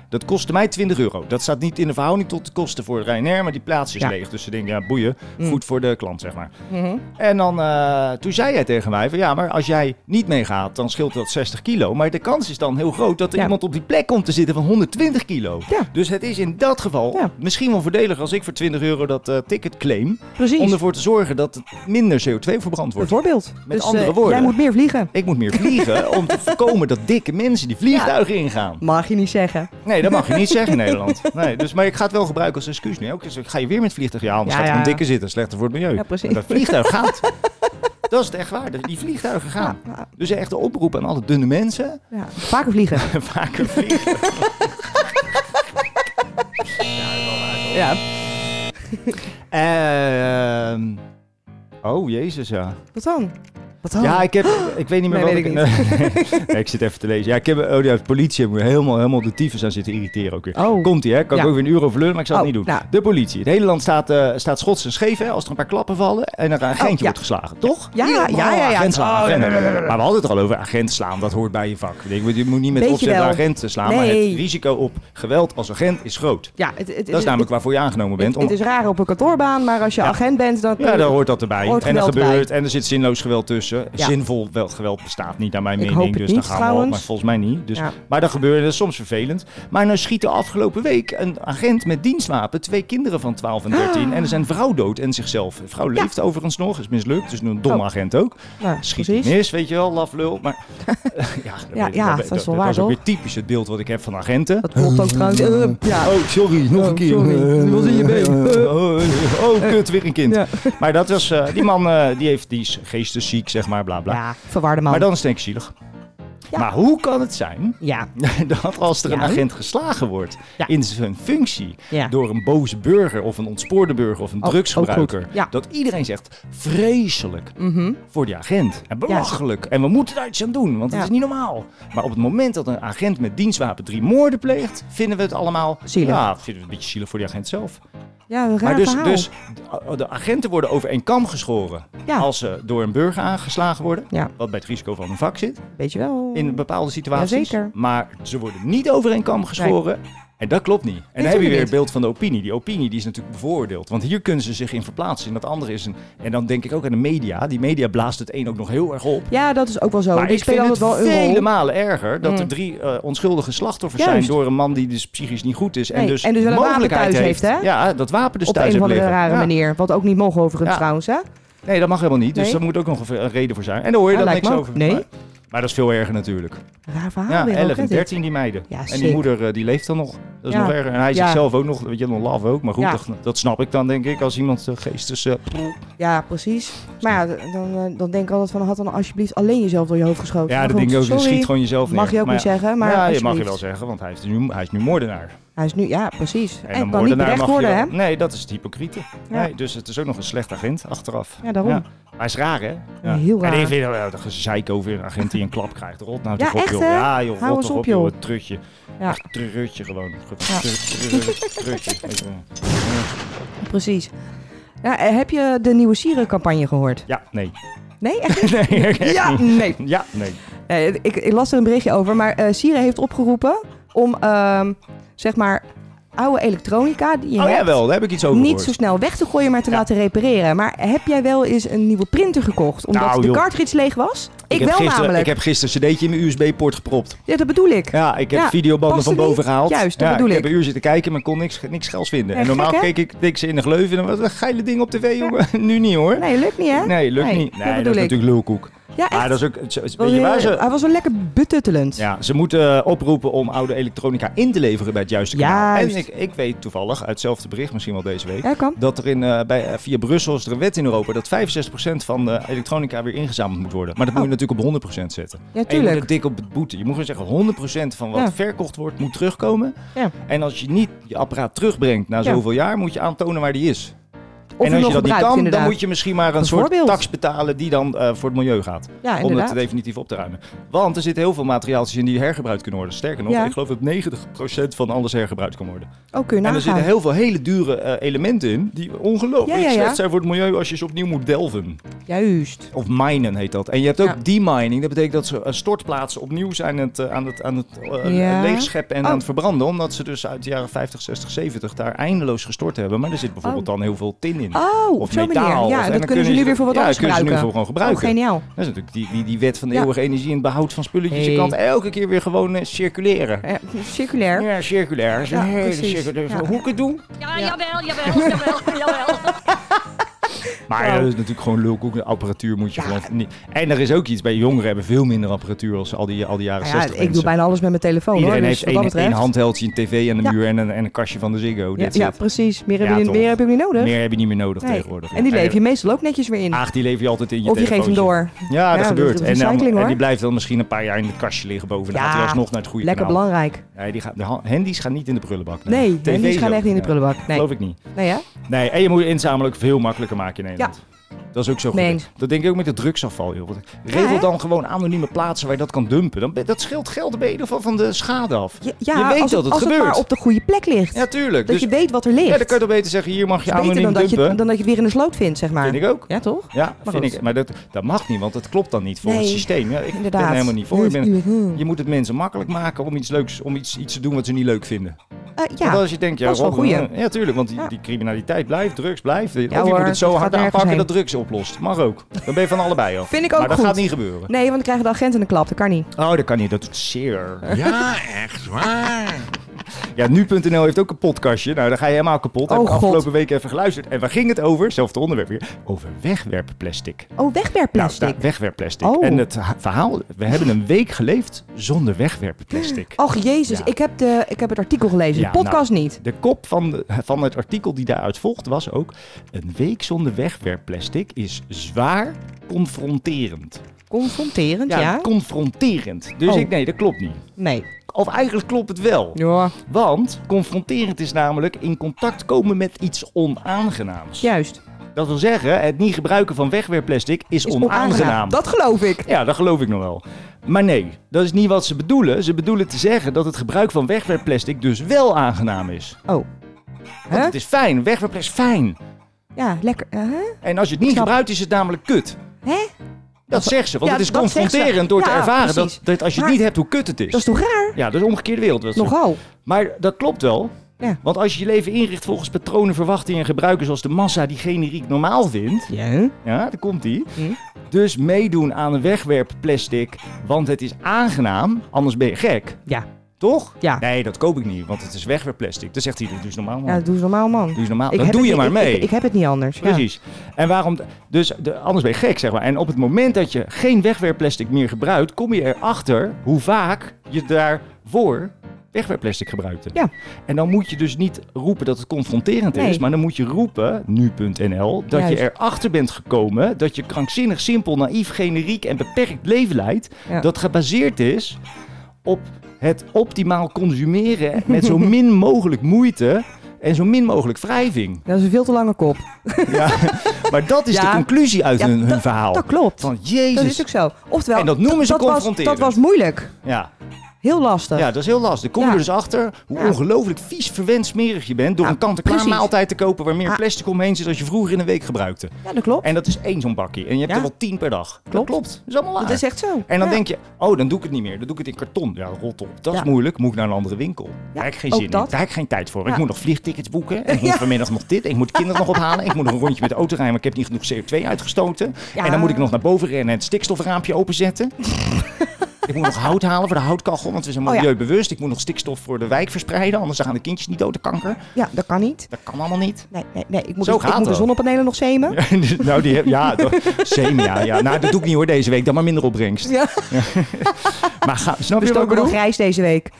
C: Dat kostte mij 20 euro. Dat staat niet in de verhouding tot de kosten voor Ryanair, maar die plaats is
D: Ja. Mm.
C: leeg. Dus ze denken, ja, boeien. Goed voor de klant, zeg maar.
D: Mhm.
C: En dan, eh, toen zei jij tegen mij van ja, maar als jij niet meegaat, dan scheelt dat 60 kilo. Maar de kans is dan heel groot dat er
D: Ja.
C: iemand op die plek komt te zitten van 120 kilo. Dus het is in dat geval misschien wel voordelig als ik voor 20 euro dat eh, ticket claim.
D: Precies.
C: Om ervoor te zorgen dat het minder CO2 verbrand wordt.
D: Bijvoorbeeld.
C: Met
D: Dus,
C: andere
D: eh,
C: woorden.
D: jij moet meer vliegen.
C: Ik moet meer vliegen om te voorkomen dat dikke mensen die vliegtuigen ingaan.
D: Mag je niet zeggen.
C: Nee, dat mag je niet zeggen in Nederland. Nee, dus, maar ik ga het wel gebruiken als excuus nu. Ook eens, ga je weer met vliegtuig? Ja, anders
D: Ja,
C: gaat er een
D: ja.
C: dikke zitten. Slechter voor het milieu.
D: Ja, precies.
C: Maar dat vliegtuig gaat. Dat is het echt waar. Die vliegtuigen gaan. Dus echt een oproep aan alle dunne (laughs) mensen.
D: Ja. Vaker vliegen.
C: Vaker vliegen.
D: Ja.
C: Ehm, oh, jezus ja.
D: Wat dan? Wat dan?
C: Ja, ik heb... Ik weet niet meer
D: Oh. Nee,
C: wat ik...
D: weet
C: (laughs)
D: ik
C: Nee,
D: (laughs)
C: nee, ik zit even te lezen. Ja, ik heb... Oh, ja, de politie heeft me helemaal, helemaal de tyfus aan zitten irriteren ook weer. Komt-ie, hè? Kan
D: Oh. Ja.
C: ik ook weer een uur over lullen, maar ik zal
D: Oh,
C: het niet doen.
D: nou.
C: De politie. Het hele land staat, eh, staat schots en scheef, hè? Als er een paar klappen vallen en er een agentje
D: Oh, ja.
C: wordt geslagen, toch?
D: Ja, ja, ja, ja.
C: agent slaan.
D: Oh,
C: agent.
D: nee, nee, nee, nee.
C: Maar we hadden het er al over agent slaan. Dat hoort bij je vak. Ik bedoel, Je moet niet met
D: Beetje
C: opzet
D: wel.
C: agenten slaan, maar
D: Nee.
C: het risico op geweld als agent is groot.
D: Ja, het, het, het-
C: Dat is namelijk waarvoor je aangenomen bent.
D: Het is raar op een kantoorbaan, maar als je agent bent, dan...
C: Ja, daar hoort dat erbij.
D: Hoort
C: en dat
D: geweld
C: gebeurt. En er zit zinloos geweld tussen.
D: Ja.
C: Zinvol wel- geweld bestaat niet, naar mijn
D: Ik
C: mening.
D: hoop het
C: dus daar
D: niet,
C: gaan we op.
D: trouwens.
C: Maar volgens mij niet. Dus,
D: Ja.
C: Maar dat gebeurde dat is soms vervelend. Maar nou schiet er afgelopen week een agent met dienstwapen twee kinderen van 12 en
D: Ah.
C: 13. En er zijn vrouw dood en zichzelf. De vrouw leeft overigens nog, is mislukt. Dus een domme
D: Oh.
C: agent ook.
D: Ja,
C: Schiet
D: precies.
C: niet mis, weet je wel, laf lul.
D: (laughs)
C: Maar (laughs) ja, dat,
D: Ja,
C: weet ik-
D: ja, dat is wel waar,
C: Dat is ook
D: toch?
C: weer typisch het beeld wat ik heb van agenten.
D: Dat klopt ook
C: (laughs)
D: trouwens. Eh, Ja.
C: Oh, sorry, nog een keer.
D: sorry. Wat in je been?
C: Eh, Oh, eh, oh, kut, weer een kind. Maar dat was, eh, die man eh, die, heeft, die is geestesziek, zeg maar, bla bla.
D: Ja, verwarde man.
C: Maar dan is het denk ik zielig. Maar hoe kan het zijn (laughs)
D: Ja.
C: dat als er een
D: Ja.
C: agent geslagen wordt in zijn functie
D: Ja.
C: door een boze burger of een ontspoorde burger of een
D: Oh, ook
C: drugsgebruiker,
D: goed. Ja.
C: dat iedereen zegt vreselijk
D: Mhm.
C: voor die agent en belachelijk en we moeten daar iets aan doen, want het
D: Ja.
C: is niet normaal. Maar op het moment dat een agent met dienstwapen drie moorden pleegt, vinden we het allemaal
D: Zielig.
C: Ja, vinden we het een beetje zielig voor die agent zelf.
D: Ja, een raar
C: Maar dus,
D: verhaal.
C: dus de- de agenten worden over één kam geschoren
D: Ja.
C: als ze door een burger aangeslagen worden.
D: Ja.
C: Wat bij het risico van een vak zit.
D: Weet je wel.
C: In bepaalde situaties.
D: Mm. Jazeker.
C: Maar ze worden niet over één kam geschoren. En dat klopt niet. En dan heb je weer
D: niet.
C: het beeld van de opinie. Die opinie die is natuurlijk bevoordeeld. Want hier kunnen ze zich in verplaatsen. En dat andere is een. En dan denk ik ook aan de media. Die media blaast het een ook nog heel erg op.
D: Ja, dat is ook wel zo.
C: Maar
D: Die
C: ik vind
D: spelen
C: het
D: altijd wel een
C: vele
D: rol.
C: malen erger dat
D: Mm.
C: er drie eh, onschuldige slachtoffers
D: Juist.
C: zijn door een man die dus psychisch niet goed is. En,
D: Nee,
C: dus
D: en dus wel een wapen
C: mogelijkheid
D: thuis
C: heeft.
D: heeft, hè?
C: Ja, dat wapen dus
D: Op
C: thuis
D: een of
C: heeft
D: andere
C: liggen.
D: rare
C: Ja.
D: manier. Wat ook niet mogen overigens
C: Ja.
D: trouwens, hè?
C: Nee, dat mag helemaal niet. Dus
D: Nee.
C: daar moet ook nog een een reden voor zijn. En daar hoor je
D: Ja,
C: dan
D: lijkt
C: niks
D: me ook.
C: over.
D: Nee.
C: Maar, maar dat is veel erger natuurlijk.
D: Raar verhaal
C: Ja,
D: Ah, weer. ook,
C: 11
D: hè,
C: en
D: dit?
C: 13 die meiden.
D: Ja,
C: en die
D: sick.
C: moeder eh, die leeft dan nog. Dat is
D: Ja.
C: nog erger. En hij
D: Ja.
C: zichzelf ook nog, weet je, dan laf ook. Maar goed,
D: Ja.
C: dat, dat snap ik dan denk ik als iemand eh, geestes... eh,
D: Ja, precies. Maar ja, d- dan, eh, dan denk ik altijd van, had dan alsjeblieft alleen jezelf door je hoofd geschoten.
C: ja,
D: Maar
C: dat
D: goed,
C: denk ik ook.
D: sorry.
C: Schiet gewoon jezelf neer.
D: Mag je ook
C: Maar
D: niet
C: ja.
D: zeggen, maar
C: Ja, je mag je wel
D: alsjeblieft.
C: zeggen, want hij, heeft nu, hij is nu moordenaar.
D: Hij is nu, ja, precies. En,
C: een
D: kan niet berecht
C: mag je
D: worden, hè?
C: wel- Nee, dat is het hypocriete.
D: Ja.
C: Nee, dus het is ook nog een slecht agent achteraf.
D: Ja, daarom.
C: Maar hij is raar, hè? Ja.
D: heel raar.
C: En ik vind wel, ja, dat gezeik over een agent die een klap krijgt. Rot nou
D: Ja,
C: toch op,
D: echt,
C: joh.
D: hè?
C: Ja, joh,
D: Hou
C: rot
D: eens
C: toch
D: op,
C: op, joh.
D: joh.
C: Het trutje.
D: Ja.
C: Echt trutje gewoon.
D: Ja.
C: Trutje. Weet je
D: (laughs)
C: wel.
D: Precies. Ja, eh, heb je de nieuwe sierencampagne gehoord?
C: Ja, nee.
D: Nee, echt niet?
C: (laughs) Nee, echt
D: ja,
C: niet.
D: nee.
C: Ja, nee.
D: Eh, ik, ik las er een berichtje over, maar eh Sieren heeft opgeroepen om, ehm, zeg maar, oude elektronica die je
C: Oh
D: hebt,
C: ja, wel. Daar heb ik iets over
D: niet
C: gehoord.
D: zo snel weg te gooien, maar te laten repareren. Maar heb jij wel eens een nieuwe printer gekocht, omdat
C: Nou,
D: de
C: joh.
D: cartridge leeg was? Ik,
C: heb
D: wel
C: gisteren,
D: namelijk.
C: Ik heb gisteren een cd'tje in mijn USB-poort gepropt.
D: Ja, dat bedoel ik.
C: Ja, ik heb
D: Ja,
C: videobanden
D: paste
C: van boven
D: die?
C: gehaald.
D: Juist, dat
C: ja,
D: bedoel
C: ik. heb een uur zitten kijken, maar kon niks, niks gels vinden.
D: Nee,
C: en normaal
D: gek, hè?
C: keek ik, keek ze in de gleuven en dan, wat een geile ding op tv, jongen. (laughs) nu niet, hoor.
D: Nee, lukt niet, hè?
C: Nee, lukt niet.
D: dat
C: Nee, dat,
D: bedoel
C: is
D: ik.
C: natuurlijk lulkoek.
D: Ja,
C: Maar
D: echt.
C: dat is ook, ze- ze- weet
D: Was
C: je Oh.
D: heel-
C: waar ze,
D: Hij was wel lekker betuttelend.
C: ja, ze moeten eh, oproepen om oude elektronica in te leveren bij het juiste kanaal.
D: Juist.
C: En ik, ik weet toevallig, uit hetzelfde bericht misschien wel deze week,
D: Ja, kan.
C: dat er in, eh, bij, eh, via Brussel is er een wet in Europa dat 65% van de elektronica weer ingezameld moet worden. Maar dat moet je natuurlijk op 100% zetten. En je moet
D: Oh. tuurlijk.
C: het dik op het boete. Je moet gewoon zeggen 100% van wat
D: Ja.
C: verkocht wordt moet terugkomen.
D: Ja.
C: En als je niet je apparaat terugbrengt na
D: Ja.
C: zoveel jaar, moet je aantonen waar die is.
D: Of
C: en
D: hem
C: als je
D: nog
C: dat niet
D: gebruikt,
C: kan,
D: inderdaad.
C: dan moet je misschien maar een soort
D: Bijvoorbeeld.
C: tax betalen die dan eh, voor het milieu gaat. om het
D: inderdaad.
C: definitief op te ruimen. Want er zitten heel veel materiaaltjes in die hergebruikt kunnen worden. Sterker nog,
D: Ja.
C: ik geloof dat 90% van alles hergebruikt kan worden.
D: Oh, kun je
C: en er
D: nagaan.
C: zitten heel veel hele dure eh, elementen in die ongelooflijk
D: Ja, ja, ja.
C: slecht zijn voor het milieu als je ze opnieuw moet delven.
D: Juist.
C: Of minen heet dat. En je hebt ook
D: Ja.
C: demining. Dat betekent dat ze eh, stortplaatsen opnieuw zijn aan het, eh, aan het, aan het eh,
D: Ja.
C: leegscheppen en
D: Oh.
C: aan het verbranden. Omdat ze dus uit de jaren 50, 60, 70 daar eindeloos gestort hebben. Maar er zit bijvoorbeeld
D: Oh.
C: dan heel veel tin in.
D: Oh, op
C: of
D: zo'n manier.
C: metaal.
D: Ja,
C: of-
D: dat
C: en dan
D: kunnen ze
C: je
D: nu
C: ze-
D: weer voor wat
C: ja,
D: anders
C: kunnen ze nu
D: gebruiken.
C: voor gewoon gebruiken.
D: Oh, geniaal.
C: Dat is natuurlijk die, die, die wet van de
D: Ja.
C: eeuwige energie en het behoud van spulletjes. Je
D: Hey.
C: kan het elke keer weer gewoon eh, circuleren.
D: Ja, circulair.
C: Ja, circulair. Dat is een
D: Ja,
C: hele
D: precies.
C: circulaire-
D: Ja.
C: Hoe ik het doe?
N: Ja, jawel, jawel,
G: (laughs)
N: jawel, jawel.
C: Maar ja, dat is natuurlijk gewoon lulkoek. De apparatuur moet je gewoon niet... En er is ook iets bij jongeren hebben veel minder apparatuur als al die, al die jaren
D: Nou ja,
C: 60
D: ik doe
C: mensen.
D: bijna alles met mijn telefoon
C: Iedereen
D: hoor. Dus
C: heeft
D: wat dat
C: één, één
D: betreft.
C: handheldje, een tv aan de
D: Ja.
C: muur en een, en een kastje van de Ziggo.
D: ja,
C: That's
D: ja,
C: it.
D: precies. Meer heb,
C: Ja,
D: je,
C: toch.
D: meer heb je ook niet nodig.
C: Meer heb je niet meer nodig
D: Nee.
C: tegenwoordig.
D: En die
C: Ja. Ah,
D: leef je meestal ook netjes weer in.
C: Ach, die leef je altijd in je
D: Of je geeft hem
C: telefoontje.
D: door.
C: Ja, dat
D: Ja,
C: gebeurt.
D: dat is
C: en, dan-
D: recycling,
C: en die
D: hoor.
C: blijft dan misschien een paar jaar in het kastje liggen boven. Dan
D: Ja,
C: gaat hij alsnog naar het goede
D: lekker
C: kanaal.
D: belangrijk.
C: Nee, die gaat, de ha- handy's gaan niet in de prullenbak.
D: Nee,
C: TV's
D: handy's gaan
C: ook
D: echt niet in de prullenbak. Nee.
C: Geloof ik niet.
D: Nee, hè?
C: Nee, en je moet inzamelen ook veel makkelijker maken in Nederland. Dat is ook zo goed.
D: Mee eens.
C: Dat denk ik ook met het drugsafval. Joh. Want Regel
D: hè?
C: dan gewoon anonieme plaatsen waar je dat kan dumpen. Dan, ben- dat scheelt geld bij in ieder geval van de schade af.
D: Ja,
C: je weet
D: als
C: dat het
D: als
C: gebeurt.
D: maar op de goede plek ligt.
C: Ja, tuurlijk.
D: Dat
C: Dus-
D: je weet wat er ligt.
C: Ja, dan kan je toch beter zeggen, hier mag je
D: Dat is beter
C: anoniem
D: dan dat, je,
C: dumpen.
D: dan dat je het weer in de sloot vindt, zeg maar.
C: Vind ik ook.
D: Ja, toch?
C: Ja,
D: Maar
C: vind
D: goed.
C: ik. Maar dat, dat mag niet, want dat klopt dan niet voor het
D: Nee,
C: systeem. Ja, ik ben
D: inderdaad. Mm-hmm.
C: er helemaal niet voor. Ik ben-
D: Dat is uur.
C: je moet het mensen makkelijk maken om iets leuks, om iets, iets te doen wat ze niet leuk vinden.
D: Eh, ja,
C: Want als je denkt, ja, eh,
D: dat is wel
C: rock and roll.
D: goeie.
C: ja, tuurlijk, want die, die criminaliteit blijft, drugs blijft. of je
D: hoor,
C: moet het zo
D: dat
C: hard
D: gaat nergens
C: aanpakken
D: heen.
C: dat drugs oplost. Mag ook. Dan ben je van allebei af.
D: Vind ik ook
C: Maar dat
D: goed.
C: gaat niet gebeuren.
D: Nee, want dan krijgen de agenten een klap. Dat kan niet.
C: Oh, dat kan niet. Dat doet zeer.
A: Ja, echt waar.
C: Ja, nu.nl heeft ook een podcastje. Nou, daar ga je helemaal kapot. Heb
D: Oh,
C: ik
D: God.
C: afgelopen week even geluisterd. En waar ging het over? Zelfde onderwerp weer. Over wegwerpplastic.
D: Oh, wegwerpplastic.
C: Nou, da- wegwerpplastic.
D: Oh.
C: En het ha- verhaal, we hebben een week geleefd zonder wegwerpplastic.
D: Och, jezus. Ik, heb de, ik heb het artikel gelezen.
C: Ja,
D: de podcast
C: nou,
D: niet.
C: De kop van, de- van het artikel die daaruit volgt was ook... Een week zonder wegwerpplastic is zwaar confronterend.
D: Confronterend, ja.
C: Ja, confronterend. Dus
D: Oh.
C: ik, nee, dat klopt niet.
D: nee.
C: Of eigenlijk klopt het wel. Want confronterend is namelijk in contact komen met iets onaangenaams.
D: Juist.
C: Dat wil zeggen, het niet gebruiken van wegwerpplastic is,
D: Is
C: onaangenaam.
D: onaangenaam. Dat geloof ik.
C: Ja, dat geloof ik nog wel. Maar nee, dat is niet wat ze bedoelen. Ze bedoelen te zeggen dat het gebruik van wegwerpplastic dus wel aangenaam is.
D: Oh.
C: Want het is fijn. Wegwerpplastic is fijn.
D: Ja, lekker. eh, hè?
C: En als je het niet
D: Snap.
C: gebruikt, is het namelijk kut.
D: Hè?
C: Dat zegt ze, want
D: ja,
C: het is
D: dat zegt ze.
C: confronterend door te
D: Ja,
C: ervaren dat,
D: precies.
C: dat als je het
D: Maar-
C: niet hebt, hoe kut het is.
D: Dat is toch raar?
C: Ja, dat is een omgekeerde wereld. Dat is-
D: Nogal.
C: Maar dat klopt wel.
D: Ja.
C: Want als je je leven inricht volgens patronen, verwachtingen en gebruiken zoals de massa die generiek normaal vindt.
D: Ja,
C: daar komt die.
D: Hm.
C: Dus meedoen aan een wegwerpplastic, want het is aangenaam, anders ben je gek.
D: Ja.
C: Toch?
D: Ja.
C: Nee, dat koop ik niet, want het is wegwerpplastic. Dan zegt hij, doe eens normaal man.
D: Ja, doe eens normaal, man.
C: Doe eens normaal.
D: Ik
C: Oh. Dan
D: heb
C: doe
D: het
C: je
D: niet-
C: maar
D: ik-
C: mee.
D: Ik, ik heb het niet anders. ja.
C: Precies. En waarom? Dus de, anders ben je gek, zeg maar. En op het moment dat je geen wegwerpplastic meer gebruikt, kom je erachter hoe vaak je daarvoor wegwerpplastic gebruikte.
D: Ja.
C: En dan moet je dus niet roepen dat het confronterend
D: Nee.
C: is, maar dan moet je roepen, nu.nl, dat
D: Juist.
C: je erachter bent gekomen dat je krankzinnig, simpel, naïef, generiek en beperkt leven leidt,
D: Ja.
C: dat gebaseerd is op het optimaal consumeren met zo min mogelijk moeite en zo min mogelijk wrijving.
D: Dat is een veel te lange kop.
C: Maar dat is de
D: Ja.
C: conclusie uit
D: Ja,
C: hun, hun verhaal.
D: Dat klopt.
C: Van jezus.
D: Dat is ook zo. Oftewel,
C: En dat noemen ze
D: dat was-
C: confronterend.
D: dat was moeilijk.
C: Ja.
D: Heel lastig.
C: ja, dat is heel lastig. Kom je
D: Ja.
C: er dus achter hoe
D: Ja.
C: ongelooflijk vies verwend smerig je bent... door een kant-en-klaar
D: precies.
C: maaltijd te kopen waar meer plastic omheen zit... als je vroeger in een week gebruikte.
D: Ja, dat klopt.
C: En dat is één zo'n bakje. En je hebt
D: Ja.
C: er wel tien per dag. Dat
D: Klopt.
C: klopt. Dat is allemaal waar.
D: Dat is echt zo.
C: En dan
D: Ja.
C: denk je, oh, dan doe ik het niet meer. Dan doe ik het in karton. Ja, rot op. Dat
D: Ja.
C: is moeilijk. Moet ik naar een andere winkel. daar heb ik geen
D: ook
C: zin in.
D: dat.
C: Daar heb ik geen tijd voor. Ik
D: Ja.
C: moet nog vliegtickets
D: (laughs)
C: boeken. En ik moet vanmiddag nog dit. en Ik moet kinderen nog ophalen. Ik moet nog een rondje met de auto rijden. Maar ik heb niet genoeg CO2 uitgestoten.
D: Ja. (laughs)
C: En dan moet ik nog naar boven rennen en het stikstofraampje openzetten. Ik moet nog hout halen voor de houtkachel, want we zijn
D: Oh ja.
C: milieubewust. Ik moet nog stikstof voor de wijk verspreiden, anders gaan de kindjes niet dood aan kanker.
D: Ja, dat kan niet.
C: Dat kan allemaal
D: (laughs)
C: niet.
D: Nee, nee, nee. Ik moet,
C: Zo
D: ik,
C: gaat
D: moet de
C: dat.
D: zonnepanelen nog zemen. (laughs) Ja.
C: nou, die heb, ja,
D: (laughs)
C: dat- same, ja, ja. Nou, dat doe ik niet hoor deze week, dan maar minder opbrengst. (laughs) Maar ga, snap
D: We
C: je wat ik
D: stoken dus nog
C: bedoel?
D: grijs deze week.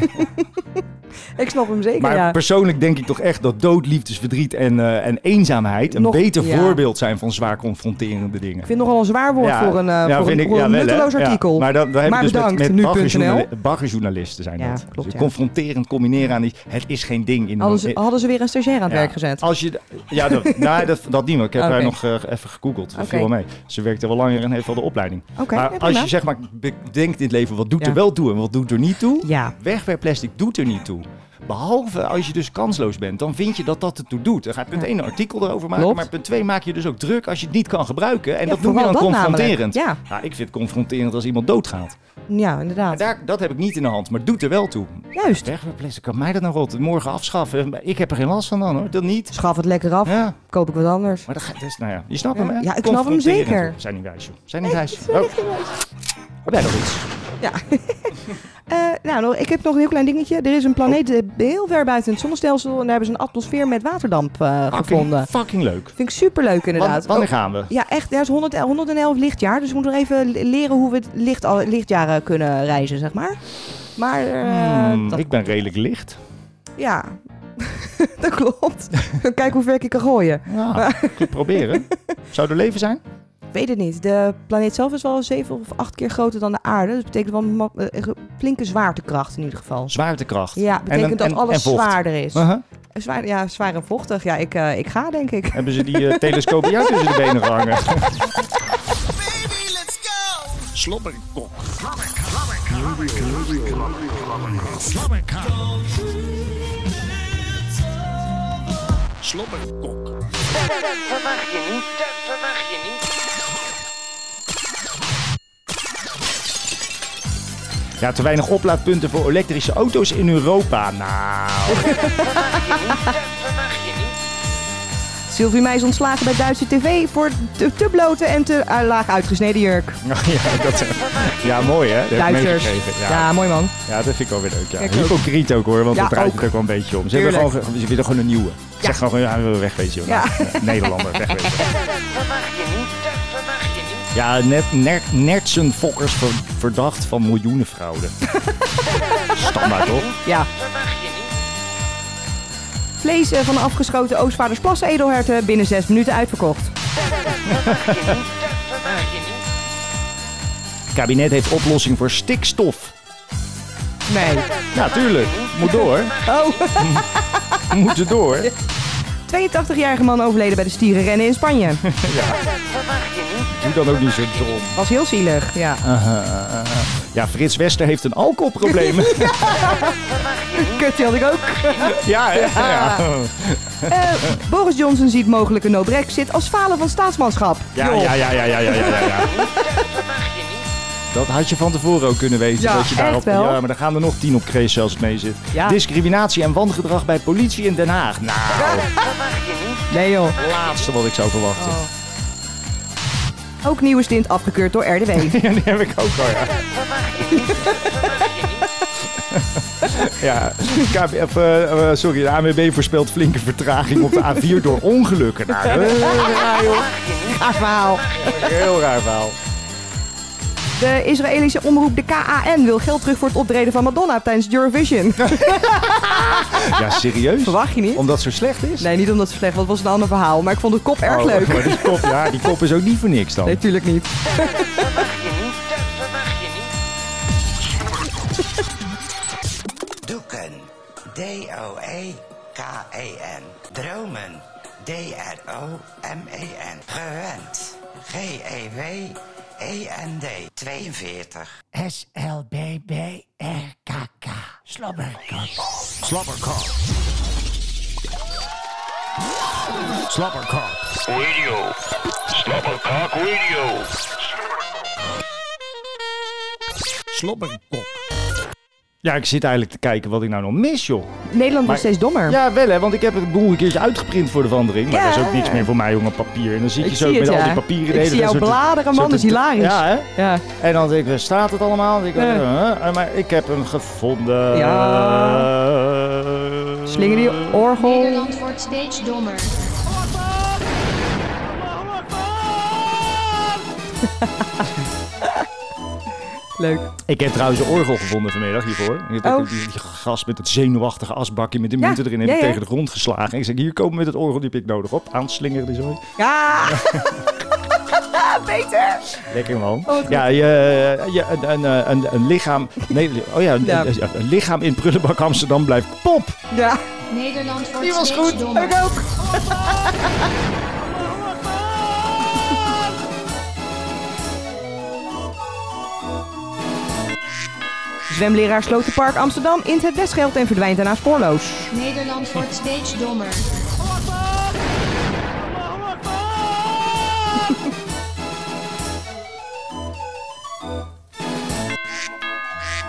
D: (laughs) ik snap hem zeker,
C: Maar
D: ja.
C: persoonlijk denk ik toch echt dat dood, liefdesverdriet en, eh, en eenzaamheid een
D: Nog-
C: beter
D: ja.
C: voorbeeld zijn van zwaar confronterende dingen.
D: Ik vind het nogal een zwaar woord voor een, eh,
C: ja,
D: voor
C: vind
D: een,
C: ik-
D: voor
C: ja,
D: een
C: wel, hè.
D: nutteloos
C: Ja,
D: artikel.
C: maar dat, daar heb je dus
D: bedankt,
C: met, met
D: nu.nl.
C: baggerjournali- baggerjournalisten zijn
D: Ja,
C: dat.
D: klopt,
C: Dus
D: ja.
C: confronterend combineren aan die, het is geen ding. In
D: Hadden ze, hadden ze weer een stagiair aan het
C: Ja,
D: werk gezet.
C: Als je, ja,
D: (laughs)
C: dat, nou, dat, dat niet meer. Ik heb
D: Oké.
C: haar nog eh, even gegoogeld. Dat viel
D: Oké.
C: wel mee. Ze werkte wel langer en heeft wel de opleiding.
D: Oké,
C: maar als
D: ja, prima.
C: je zeg maar bedenkt in het leven, wat doet
D: Ja.
C: er wel toe en wat doet er niet toe?
D: Ja.
C: Wegwerpplastic doet er niet toe. Behalve als je dus kansloos bent, dan vind je dat dat ertoe doet. Dan ga je punt
D: Ja.
C: 1 een artikel erover maken,
D: Klopt.
C: maar punt 2 maak je dus ook druk als je het niet kan gebruiken. En
D: Ja,
C: dat noem je
D: vooral
C: dan
D: dat namelijk.
C: confronterend.
D: Ja.
C: Nou, ik vind het confronterend als iemand doodgaat.
D: Ja, inderdaad.
C: Daar, dat heb ik niet in de hand, maar het doet er wel toe.
D: Juist.
C: Wegwerpplastic, kan mij dat nou rot? Morgen afschaffen. Ik heb er geen last van dan hoor, dat niet.
D: Schaf het lekker af. Koop ik wat anders.
C: Maar dat gaat dus, nou ja, je snapt
D: Ja.
C: hem hè?
D: Ja, ik snap hem
C: Confronterend.
D: zeker.
C: Zijn niet wijs joh, zijn niet wijs. Oh. Heb jij nog iets?
D: (laughs) Eh, nou, nog- ik heb nog een heel klein dingetje. Er is een planeet
C: Oh.
D: eh, heel ver buiten het zonnestelsel. En daar hebben ze een atmosfeer met waterdamp eh,
C: Ah,
D: gevonden.
C: Fucking leuk.
D: Vind ik superleuk
C: Wan-
D: inderdaad.
C: wanneer
D: Oh,
C: gaan we?
D: Ja, echt. Er is 100, en- 111 lichtjaar. Dus we moeten nog even le- leren hoe we het licht, al- lichtjaren kunnen reizen, zeg maar. Maar eh,
C: Hmm,
D: dat,
C: Ik ben redelijk licht.
D: ja, (laughs) dat klopt. (laughs) Kijk hoe ver ik je kan gooien.
C: Ja,
D: Maar-
C: Ah, ik wil
D: (laughs)
C: proberen. Zou er leven zijn?
D: weet het niet. De planeet zelf is wel zeven of acht keer groter dan de aarde. Dus dat betekent wel ma- eh, echt een flinke zwaartekracht in ieder geval.
C: Zwaartekracht.
D: Ja, betekent
C: een-
D: dat
C: en-
D: alles
C: en vocht.
D: zwaarder is. Eh,
C: Uh-huh.
D: Zwaar, ja, zwaar en vochtig. Ja, ik, eh, ik ga denk ik.
C: Hebben ze die eh, telescoop bij jou tussen de benen
D: (laughs)
C: gehangen?
B: Slobberkok. Slobberkok.
F: Dat verwacht je niet, dat verwacht je niet.
C: Ja, te weinig oplaadpunten voor elektrische auto's in Europa. Nou.
D: (laughs)
C: (laughs)
D: Sylvie Meijs ontslagen bij Duitse tv voor te, te blote en te eh, laag uitgesneden jurk.
C: ja, dat, ja, mooi hè? Dat heb ik
D: Duitsers.
C: meegekregen.
D: Ja. mooi man.
C: Ja, dat vind ik wel weer leuk. Ja.
D: Kijk ook.
C: Hypocriet ook hoor, want
D: Ja,
C: dat draait
D: ook.
C: het ook wel een beetje om. Ze, hebben
D: Tuurlijk.
C: gewoon, ge- ze willen gewoon een nieuwe. Ze Zeg gewoon, ja, we willen wegwezen joh.
D: Ja.
C: Nou, eh,
D: (laughs)
C: Nederlander, wegwezen.
F: Verwacht je niet, dat verwacht je niet.
C: Ja, net, ner, nertsenfokkers ver- verdacht van miljoenenfraude. Standaard toch?
D: Ja. Vlees eh, van de afgeschoten Oostvaardersplas edelherten binnen zes minuten uitverkocht.
C: Het kabinet heeft oplossing voor stikstof.
D: Nee.
C: Ja, tuurlijk. Moet door.
D: Oh. (laughs)
C: Moet er door.
D: 82-jarige man overleden bij de stierenrennen in (laughs) Spanje.
C: Ja. Doe dan ook niet zo dom.
D: Was heel zielig, ja.
C: Eh, eh, eh, eh. Ja, Frits Wester heeft een
D: (laughs)
C: alcoholprobleem.
D: Kut, die had ik ook.
C: ja, hè? Ja.
D: Eh, Boris Johnson ziet mogelijk een no-brexit als falen van staatsmanschap.
C: Ja,
D: Joh.
C: ja, ja, ja, ja, ja, ja, ja. Dat had je van tevoren ook kunnen weten.
D: Ja,
C: dat je daarop,
D: echt wel.
C: ja, maar daar gaan er nog tien op kreeg zelfs mee zit.
D: Ja.
C: Discriminatie en wangedrag bij politie in Den Haag. Nou,
D: Nee joh.
C: laatste wat ik zou verwachten.
D: Oh. Ook nieuwe stint afgekeurd door (laughs) RDW.
C: (laughs) ja, die heb ik ook al, ja. (laughs) Ja, KB, of, eh, eh, sorry, de ANWB voorspelt flinke vertraging op de A4 door ongelukken. Nou, eh, raar, joh.
D: Raar verhaal.
C: Heel raar verhaal.
D: De Israëlische omroep de KAN wil geld terug voor het optreden van Madonna tijdens (laughs) Eurovision.
C: Ja, serieus?
D: Verwacht je niet?
C: Omdat het zo slecht is?
D: Nee, niet omdat ze slecht was. Het was een ander verhaal. Maar ik vond de kop erg
C: Oh,
D: leuk.
C: maar die kop, ja, die kop is ook niet voor niks dan.
D: Nee, tuurlijk niet.
O: Doeken. D-O-E-K-E-N. Dromen. D-R-O-M-E-N. Gewend. G-E-W-E-N-D. 42. S-L-B-B-R-K-K. Slobberkok.
B: Slobberkok. Slobberkok. Radio. Slobberkok Radio. Slobberkok.
C: Ja, ik zit eigenlijk te kijken wat ik nou nog mis, joh.
D: Nederland
C: Maar-
D: wordt steeds dommer.
C: Ja, wel hè, want ik heb het boel een keertje uitgeprint voor de verandering. Maar
D: Ja.
C: dat is ook niks meer voor mij, jongen, papier. En dan zit je
D: Ik
C: zo
D: zie
C: met
D: het,
C: al
D: ja.
C: die papieren. de
D: Ik
C: hele
D: zie
C: tijd
D: jou
C: zo te-
D: bladeren, man,
C: zo
D: dat
C: te-
D: is hilarisch.
C: Ja, hè? En dan denk ik, waar staat het allemaal? Dan denk ik,
D: Ja.
C: eh, eh, maar ik heb hem gevonden.
D: Ja. Slinger die orgel.
E: Nederland wordt steeds dommer.
D: Leuk.
C: Ik heb trouwens een orgel gevonden vanmiddag hiervoor. Ik heb
D: Oh.
C: ook die, die gast met het zenuwachtige asbakje met de
D: Ja,
C: munten erin heb
D: ja,
C: ik
D: ja.
C: tegen de grond geslagen. Ik zeg, hier komen met het orgel, die heb ik nodig op. Aanslingeren die zooi.
D: Ja! Peter!
C: Lekker man.
D: wat Oh, goed.
C: ja, je, je, een, een, eh, een, een lichaam. Nee, li- oh ja, een,
D: Ja.
C: een- een lichaam in prullenbak Amsterdam blijft pop.
D: Ja.
E: Nederland wordt
D: Die was
E: steeds
D: goed.
E: dommer.
D: Ik ook. Zwemleraar Slotenpark Amsterdam int het desgeld en verdwijnt daarna spoorloos.
E: Nederland wordt steeds dommer.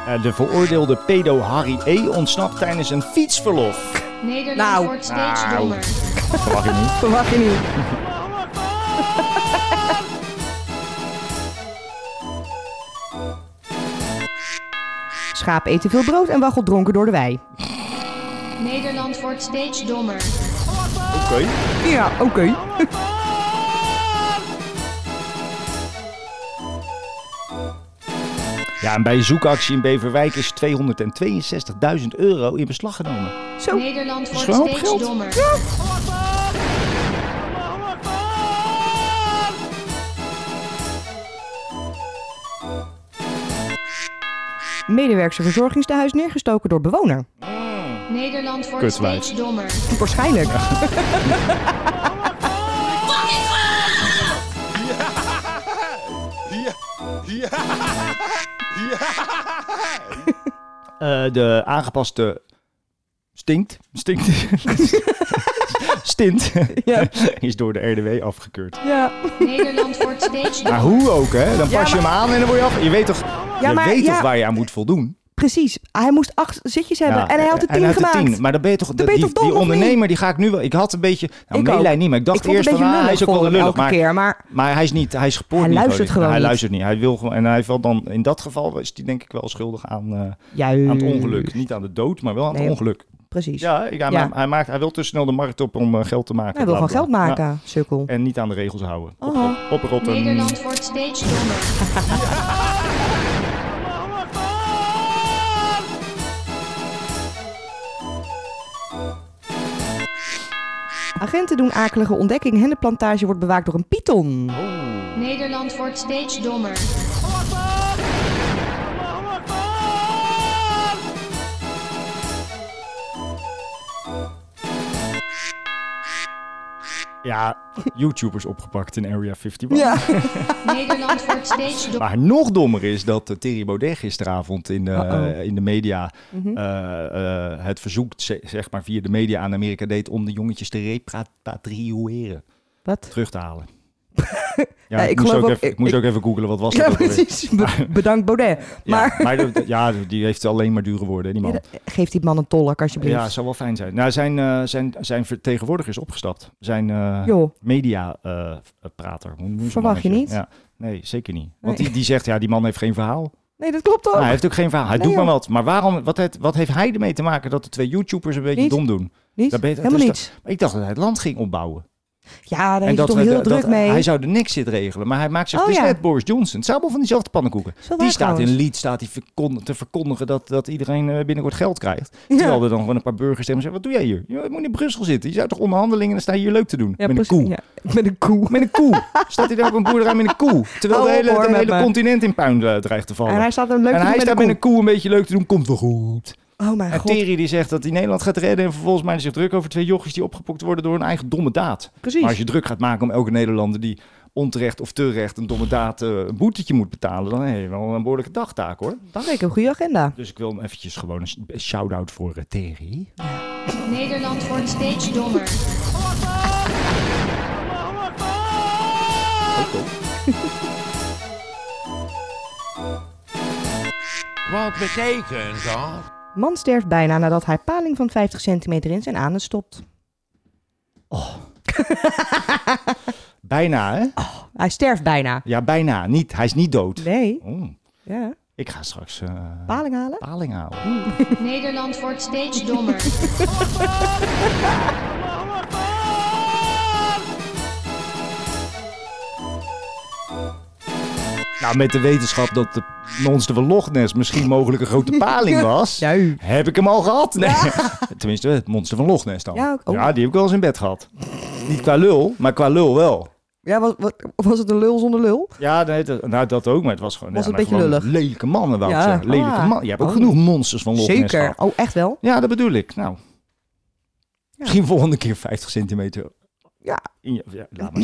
C: Eh, de veroordeelde pedo Harry E. ontsnapt tijdens een fietsverlof.
E: Nederland
D: Nou.
E: wordt steeds
C: Nou.
E: dommer.
C: Verwacht je niet?
D: Verwacht je niet. Schaap eten veel brood en waggelt dronken door de wei.
E: Nederland wordt steeds dommer.
C: Oké.
D: Ja, oké.
C: Ja, en bij een zoekactie in Beverwijk is 262.000 euro in beslag genomen.
E: Nederland
C: Dat Oh, is
E: wordt
C: wel
E: steeds
C: geld.
E: dommer.
D: Medewerkster verzorgingstehuis neergestoken door bewoner.
E: Nederland wordt
C: Kutwijf.
E: steeds dommer.
D: Waarschijnlijk.
C: Eh, de aangepaste stinkt. Stinkt. (laughs) Stint is door de RDW afgekeurd.
D: Ja.
E: Nederland wordt
C: (laughs)
E: steeds
C: Maar
E: dommer.
C: hoe ook, hè? Dan pas
D: Ja,
C: je hem
D: maar-
C: aan en dan word je af. Je weet toch, je
D: maar-
C: weet
D: ja.
C: toch waar je aan moet voldoen?
D: Precies. Hij moest acht zitjes hebben
C: Ja,
D: en hij had de
C: en
D: tien gemaakt.
C: tien. Maar dan ben je toch,
D: ben je
C: die,
D: toch dom,
C: die
D: of niet?
C: ondernemer, die ga ik nu wel. Ik had een beetje, nou,
D: Ik
C: meelij
D: ook.
C: niet, maar ik dacht
D: Ik vond het
C: eerst
D: een
C: van,
D: beetje
C: ah, hij is ook
D: lullig
C: wel
D: voor hem
C: lullig.
D: elke
C: Maar,
D: keer, maar-
C: hij is niet, hij is gepoord
D: Hij
C: niet, geloof
D: luistert
C: ik.
D: gewoon
C: Hij
D: niet.
C: luistert niet. Hij wil gewoon, en hij valt dan, in dat geval is hij denk ik wel schuldig aan, eh,
D: Juist.
C: aan het ongeluk. Niet aan de dood, maar wel aan
D: Nee.
C: het ongeluk.
D: Precies.
C: Ja, ik- hij,
D: Ja.
C: ma- hij, maakt, hij wil te snel de markt op om eh, geld te maken.
D: Hij wil
C: Bla,
D: gewoon
C: bla,
D: geld
C: bla.
D: maken,
C: Ja.
D: sukkel.
C: En niet aan de regels houden. Op,
D: Oh.
C: op, oprotten.
E: Nederland wordt steeds dommer.
D: Agenten doen akelige ontdekking en de plantage wordt bewaakt door een python.
E: Nederland wordt steeds dommer.
C: Ja, (laughs) YouTubers opgepakt in Area 51.
E: Nederland wordt steeds
D: (laughs)
E: dommer.
C: Maar nog dommer is dat eh, Thierry Baudet gisteravond in de,
E: Uh-oh.
C: in de media
D: Mm-hmm.
E: Mhm.
C: eh, eh, het verzoek ze- zeg maar, via de media aan Amerika deed om de jongetjes te repatriëren.
D: Wat?
C: Terug te
D: (laughs)
C: halen. ja,
D: Ja,
C: ik,
D: ik
C: moest,
D: geloof
C: ook
D: ook-
C: even, ik,
D: ik-
C: moest
D: ik-
C: ook even googelen wat was
D: Ja,
C: dat ook alweer. (laughs)
D: precies. Be- bedankt Baudet.
C: Ja,
D: Maar
C: maar dat- ja, die heeft alleen maar dure woorden, hè, die man.
D: geef die man een tolk alsjeblieft.
C: Ja, zou wel fijn zijn. Nou, zijn, eh, zijn, zijn vertegenwoordiger is opgestapt. Zijn eh
D: Joh.
C: mediaprater.
D: Verwacht je niet?
C: Ja. Nee, zeker niet. Want
D: Nee.
C: die, die zegt, ja, die man heeft geen verhaal.
D: Nee, dat klopt toch?
C: Nou, hij heeft ook geen verhaal. Hij
D: Oh. Nee,
C: doet maar
D: joh.
C: wat. Maar waarom, wat, het, wat heeft hij ermee te maken dat de twee YouTubers een beetje
D: Niet.
C: dom doen?
D: Niet.
C: Dat ben je- dat
D: Helemaal
C: is dat- maar ik dacht dat hij het land ging opbouwen.
D: Ja, daar is hij
C: dat
D: toch
C: we-
D: heel
C: dat-
D: druk
C: dat-
D: mee.
C: Hij zou de niks zit regelen. Maar hij maakt zich.
D: Oh,
C: dus
D: ja.
C: net Boris Johnson. Het zijn allemaal van diezelfde pannenkoeken.
D: wel
C: Die
D: waar
C: staat in
D: trouwens.
C: Leeds staat die verkon- te verkondigen dat, dat iedereen eh, binnenkort geld krijgt. Terwijl er dan gewoon een paar burgers tegen hem zeggen: Wat doe jij hier? Je moet in Brussel zitten. Je zou toch onderhandelingen en dan sta je hier leuk te doen.
D: Ja,
C: met een
D: precies,
C: koe.
D: ja. Met een koe.
C: (laughs) Met een koe. Staat hij daar op een boerderij met een
D: (laughs)
C: koe? Terwijl
D: Hou
C: de
D: op,
C: hele,
D: hoor,
C: de
D: met
C: hele
D: me.
C: continent in puin eh, dreigt te vallen.
D: En hij staat hem
C: En
D: leuk te doen
C: hij
D: met
C: staat
D: een
C: met een koe een beetje leuk te doen. Komt wel goed.
D: Oh mijn
C: En
D: god.
C: Thierry die zegt dat hij Nederland gaat redden en vervolgens maakt hij zich druk over twee jochies die opgepokt worden door een eigen domme daad.
D: Precies.
C: Maar als je druk gaat maken om elke Nederlander die onterecht of terecht een domme daad eh, een boetetje moet betalen, dan heb je wel een behoorlijke dagtaak hoor.
D: Dat is een goede agenda.
C: Dus ik wil hem eventjes gewoon een s- een shout-out voor eh, Thierry.
E: Nederland wordt steeds dommer.
A: Wat betekent dat?
D: Man sterft bijna nadat hij paling van 50 centimeter in zijn anus stopt.
C: Bijna, hè?
D: hij sterft bijna.
C: Ja, bijna. Niet. Hij is niet dood.
D: Nee.
C: Ja. Ik ga straks eh,
D: Paling halen?
C: paling halen.
E: Nederland wordt steeds dommer.
C: Nou, met de wetenschap dat de monster van Loch Ness misschien mogelijk een grote
D: (laughs)
C: paling was, heb ik hem al gehad. Nee. (laughs) Tenminste, het monster van Loch Ness dan.
D: Ja, ook- oh.
C: die heb ik wel eens in bed gehad. Niet qua lul, maar qua lul wel.
D: Ja, was, was, was het een lul zonder lul?
C: Ja, nee, dat, nou, dat ook, maar het was gewoon...
D: Was
C: ja,
D: een
C: maar
D: beetje
C: gewoon Lelijke mannen, wou ik
D: Ja.
C: zeggen. Lelijke
D: Ah.
C: mannen. Je hebt ook
D: Oh.
C: genoeg monsters van Loch Ness
D: Zeker.
C: gehad.
D: Oh, echt wel?
C: Ja, dat bedoel ik. Nou, misschien volgende keer 50 centimeter.
D: Ja.
C: In je- ja, laat maar
D: (clears throat)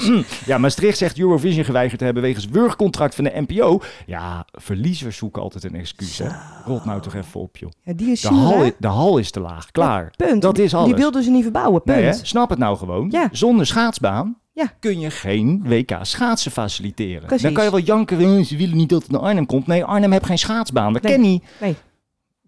C: zitten. ja, Maastricht zegt Eurovision geweigerd te hebben wegens wurgcontract van de NPO. Ja, verliezers zoeken altijd een excuus. Hè? Rot nou toch even op, joh.
D: Ja, die is
C: de,
D: zuur,
C: hal,
D: hè?
C: i- de hal is te laag. Klaar.
D: Oh, Punt.
C: Dat is alles.
D: Die wilden ze niet verbouwen. Punt.
C: Nee, hè? Snap het nou gewoon. Zonder schaatsbaan kun je geen WK schaatsen faciliteren.
D: Precies.
C: Dan kan je wel janken, eh, ze willen niet dat het naar Arnhem komt. Nee, Arnhem heeft geen schaatsbaan. Dat ken niet.
D: Nee.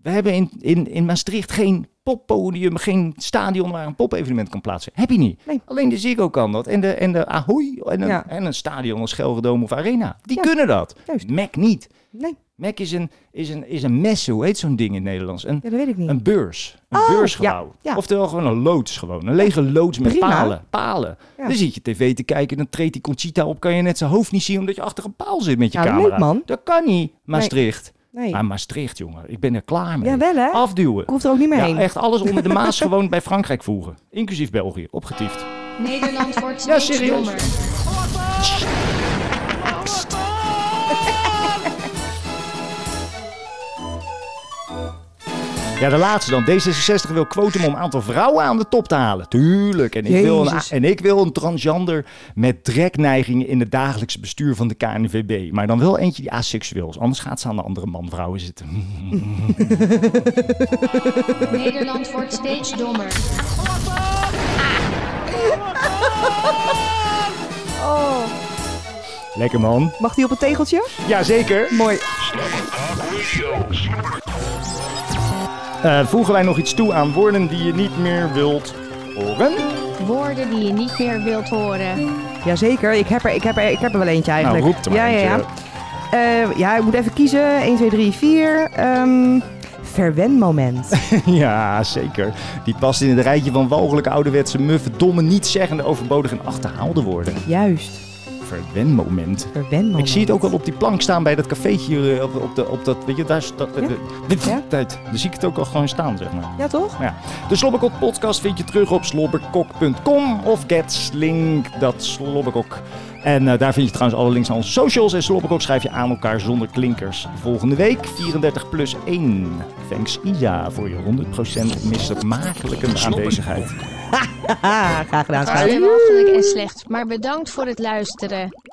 C: We hebben in, in, in Maastricht geen poppodium, geen stadion waar een popevenement kan plaatsen. Heb je niet. Alleen de Ziggo kan dat. En de, en de Ahoy en een,
D: Ja.
C: en een stadion als Gelredome of Arena. Die kunnen dat. Mac niet.
D: Nee.
C: Mac is een, is een, is een messe, hoe heet zo'n ding in het Nederlands? Een,
D: dat weet ik niet.
C: Een beurs. Een
D: Oh,
C: beursgebouw.
D: ja, ja.
C: Oftewel gewoon een loods gewoon. Een lege loods met
D: Prima.
C: palen. Palen.
D: Ja.
C: Dan zit je tv te kijken, dan treedt die Conchita op. Kan je net zijn hoofd niet zien omdat je achter een paal zit met je
D: Ja, leuk,
C: camera.
D: man.
C: Dat kan niet, Maastricht.
D: Nee.
C: Maar Maastricht, jongen. Ik ben er klaar mee.
D: Jawel, hè?
C: Afduwen.
D: Ik hoef er ook niet meer
C: Ja,
D: heen.
C: echt alles onder de
D: (laughs)
C: Maas gewoon bij Frankrijk voegen. Inclusief België. Opgetiefd.
E: Nederland wordt steeds
C: serieus.
E: dommer.
C: Ja, de laatste dan. D66 wil quotum om een aantal vrouwen aan de top te halen. Tuurlijk. En ik, wil een,
D: Jezus.
C: en ik wil een transgender met drekneigingen in het dagelijkse bestuur van de KNVB. Maar dan wel eentje die asexueel is. Anders gaat ze aan de andere man-vrouwen zitten. (laughs)
E: Nederland wordt steeds dommer.
D: Oh.
C: Lekker man.
D: Mag die op een tegeltje?
C: Jazeker.
D: Mooi.
C: Eh, voegen wij nog iets toe aan woorden die je niet meer wilt horen? (laughs)
G: Woorden die je niet meer wilt horen.
D: Jazeker, ik heb er, ik heb er, ik heb er wel eentje eigenlijk.
C: Nou, roep er maar
D: ja, ja, ja.
C: eentje.
D: Eh, ja, ik moet even kiezen. 1, 2, 3, 4. Ehm verwenmoment.
C: (laughs) ja, zeker. Die past in het rijtje van walgelijke ouderwetse muffe, domme, niet-zeggende, overbodige en achterhaalde woorden.
D: Juist.
C: Verwenmoment.
D: Verwenmoment.
C: Ik zie het ook al op die plank staan bij dat cafeetje hier eh, op, op, de, op dat, weet je, daar staat... eh, de- dit- Tijd. Dan zie ik het ook al gewoon staan, zeg maar.
D: Ja, toch?
C: Ja. De Slobberkok podcast vind je terug op slobberkok.com of getslink, dat slobberkok. En eh, daar vind je trouwens alle links naar onze socials. En Slobberkok schrijf je aan elkaar zonder klinkers. Volgende week 34 plus 1. Thanks Ida voor je 100% mismakelijke aanwezigheid.
D: Haha, Ah, graag gedaan,
G: Het is
D: schat.
G: mogelijk en slecht, maar bedankt voor het luisteren.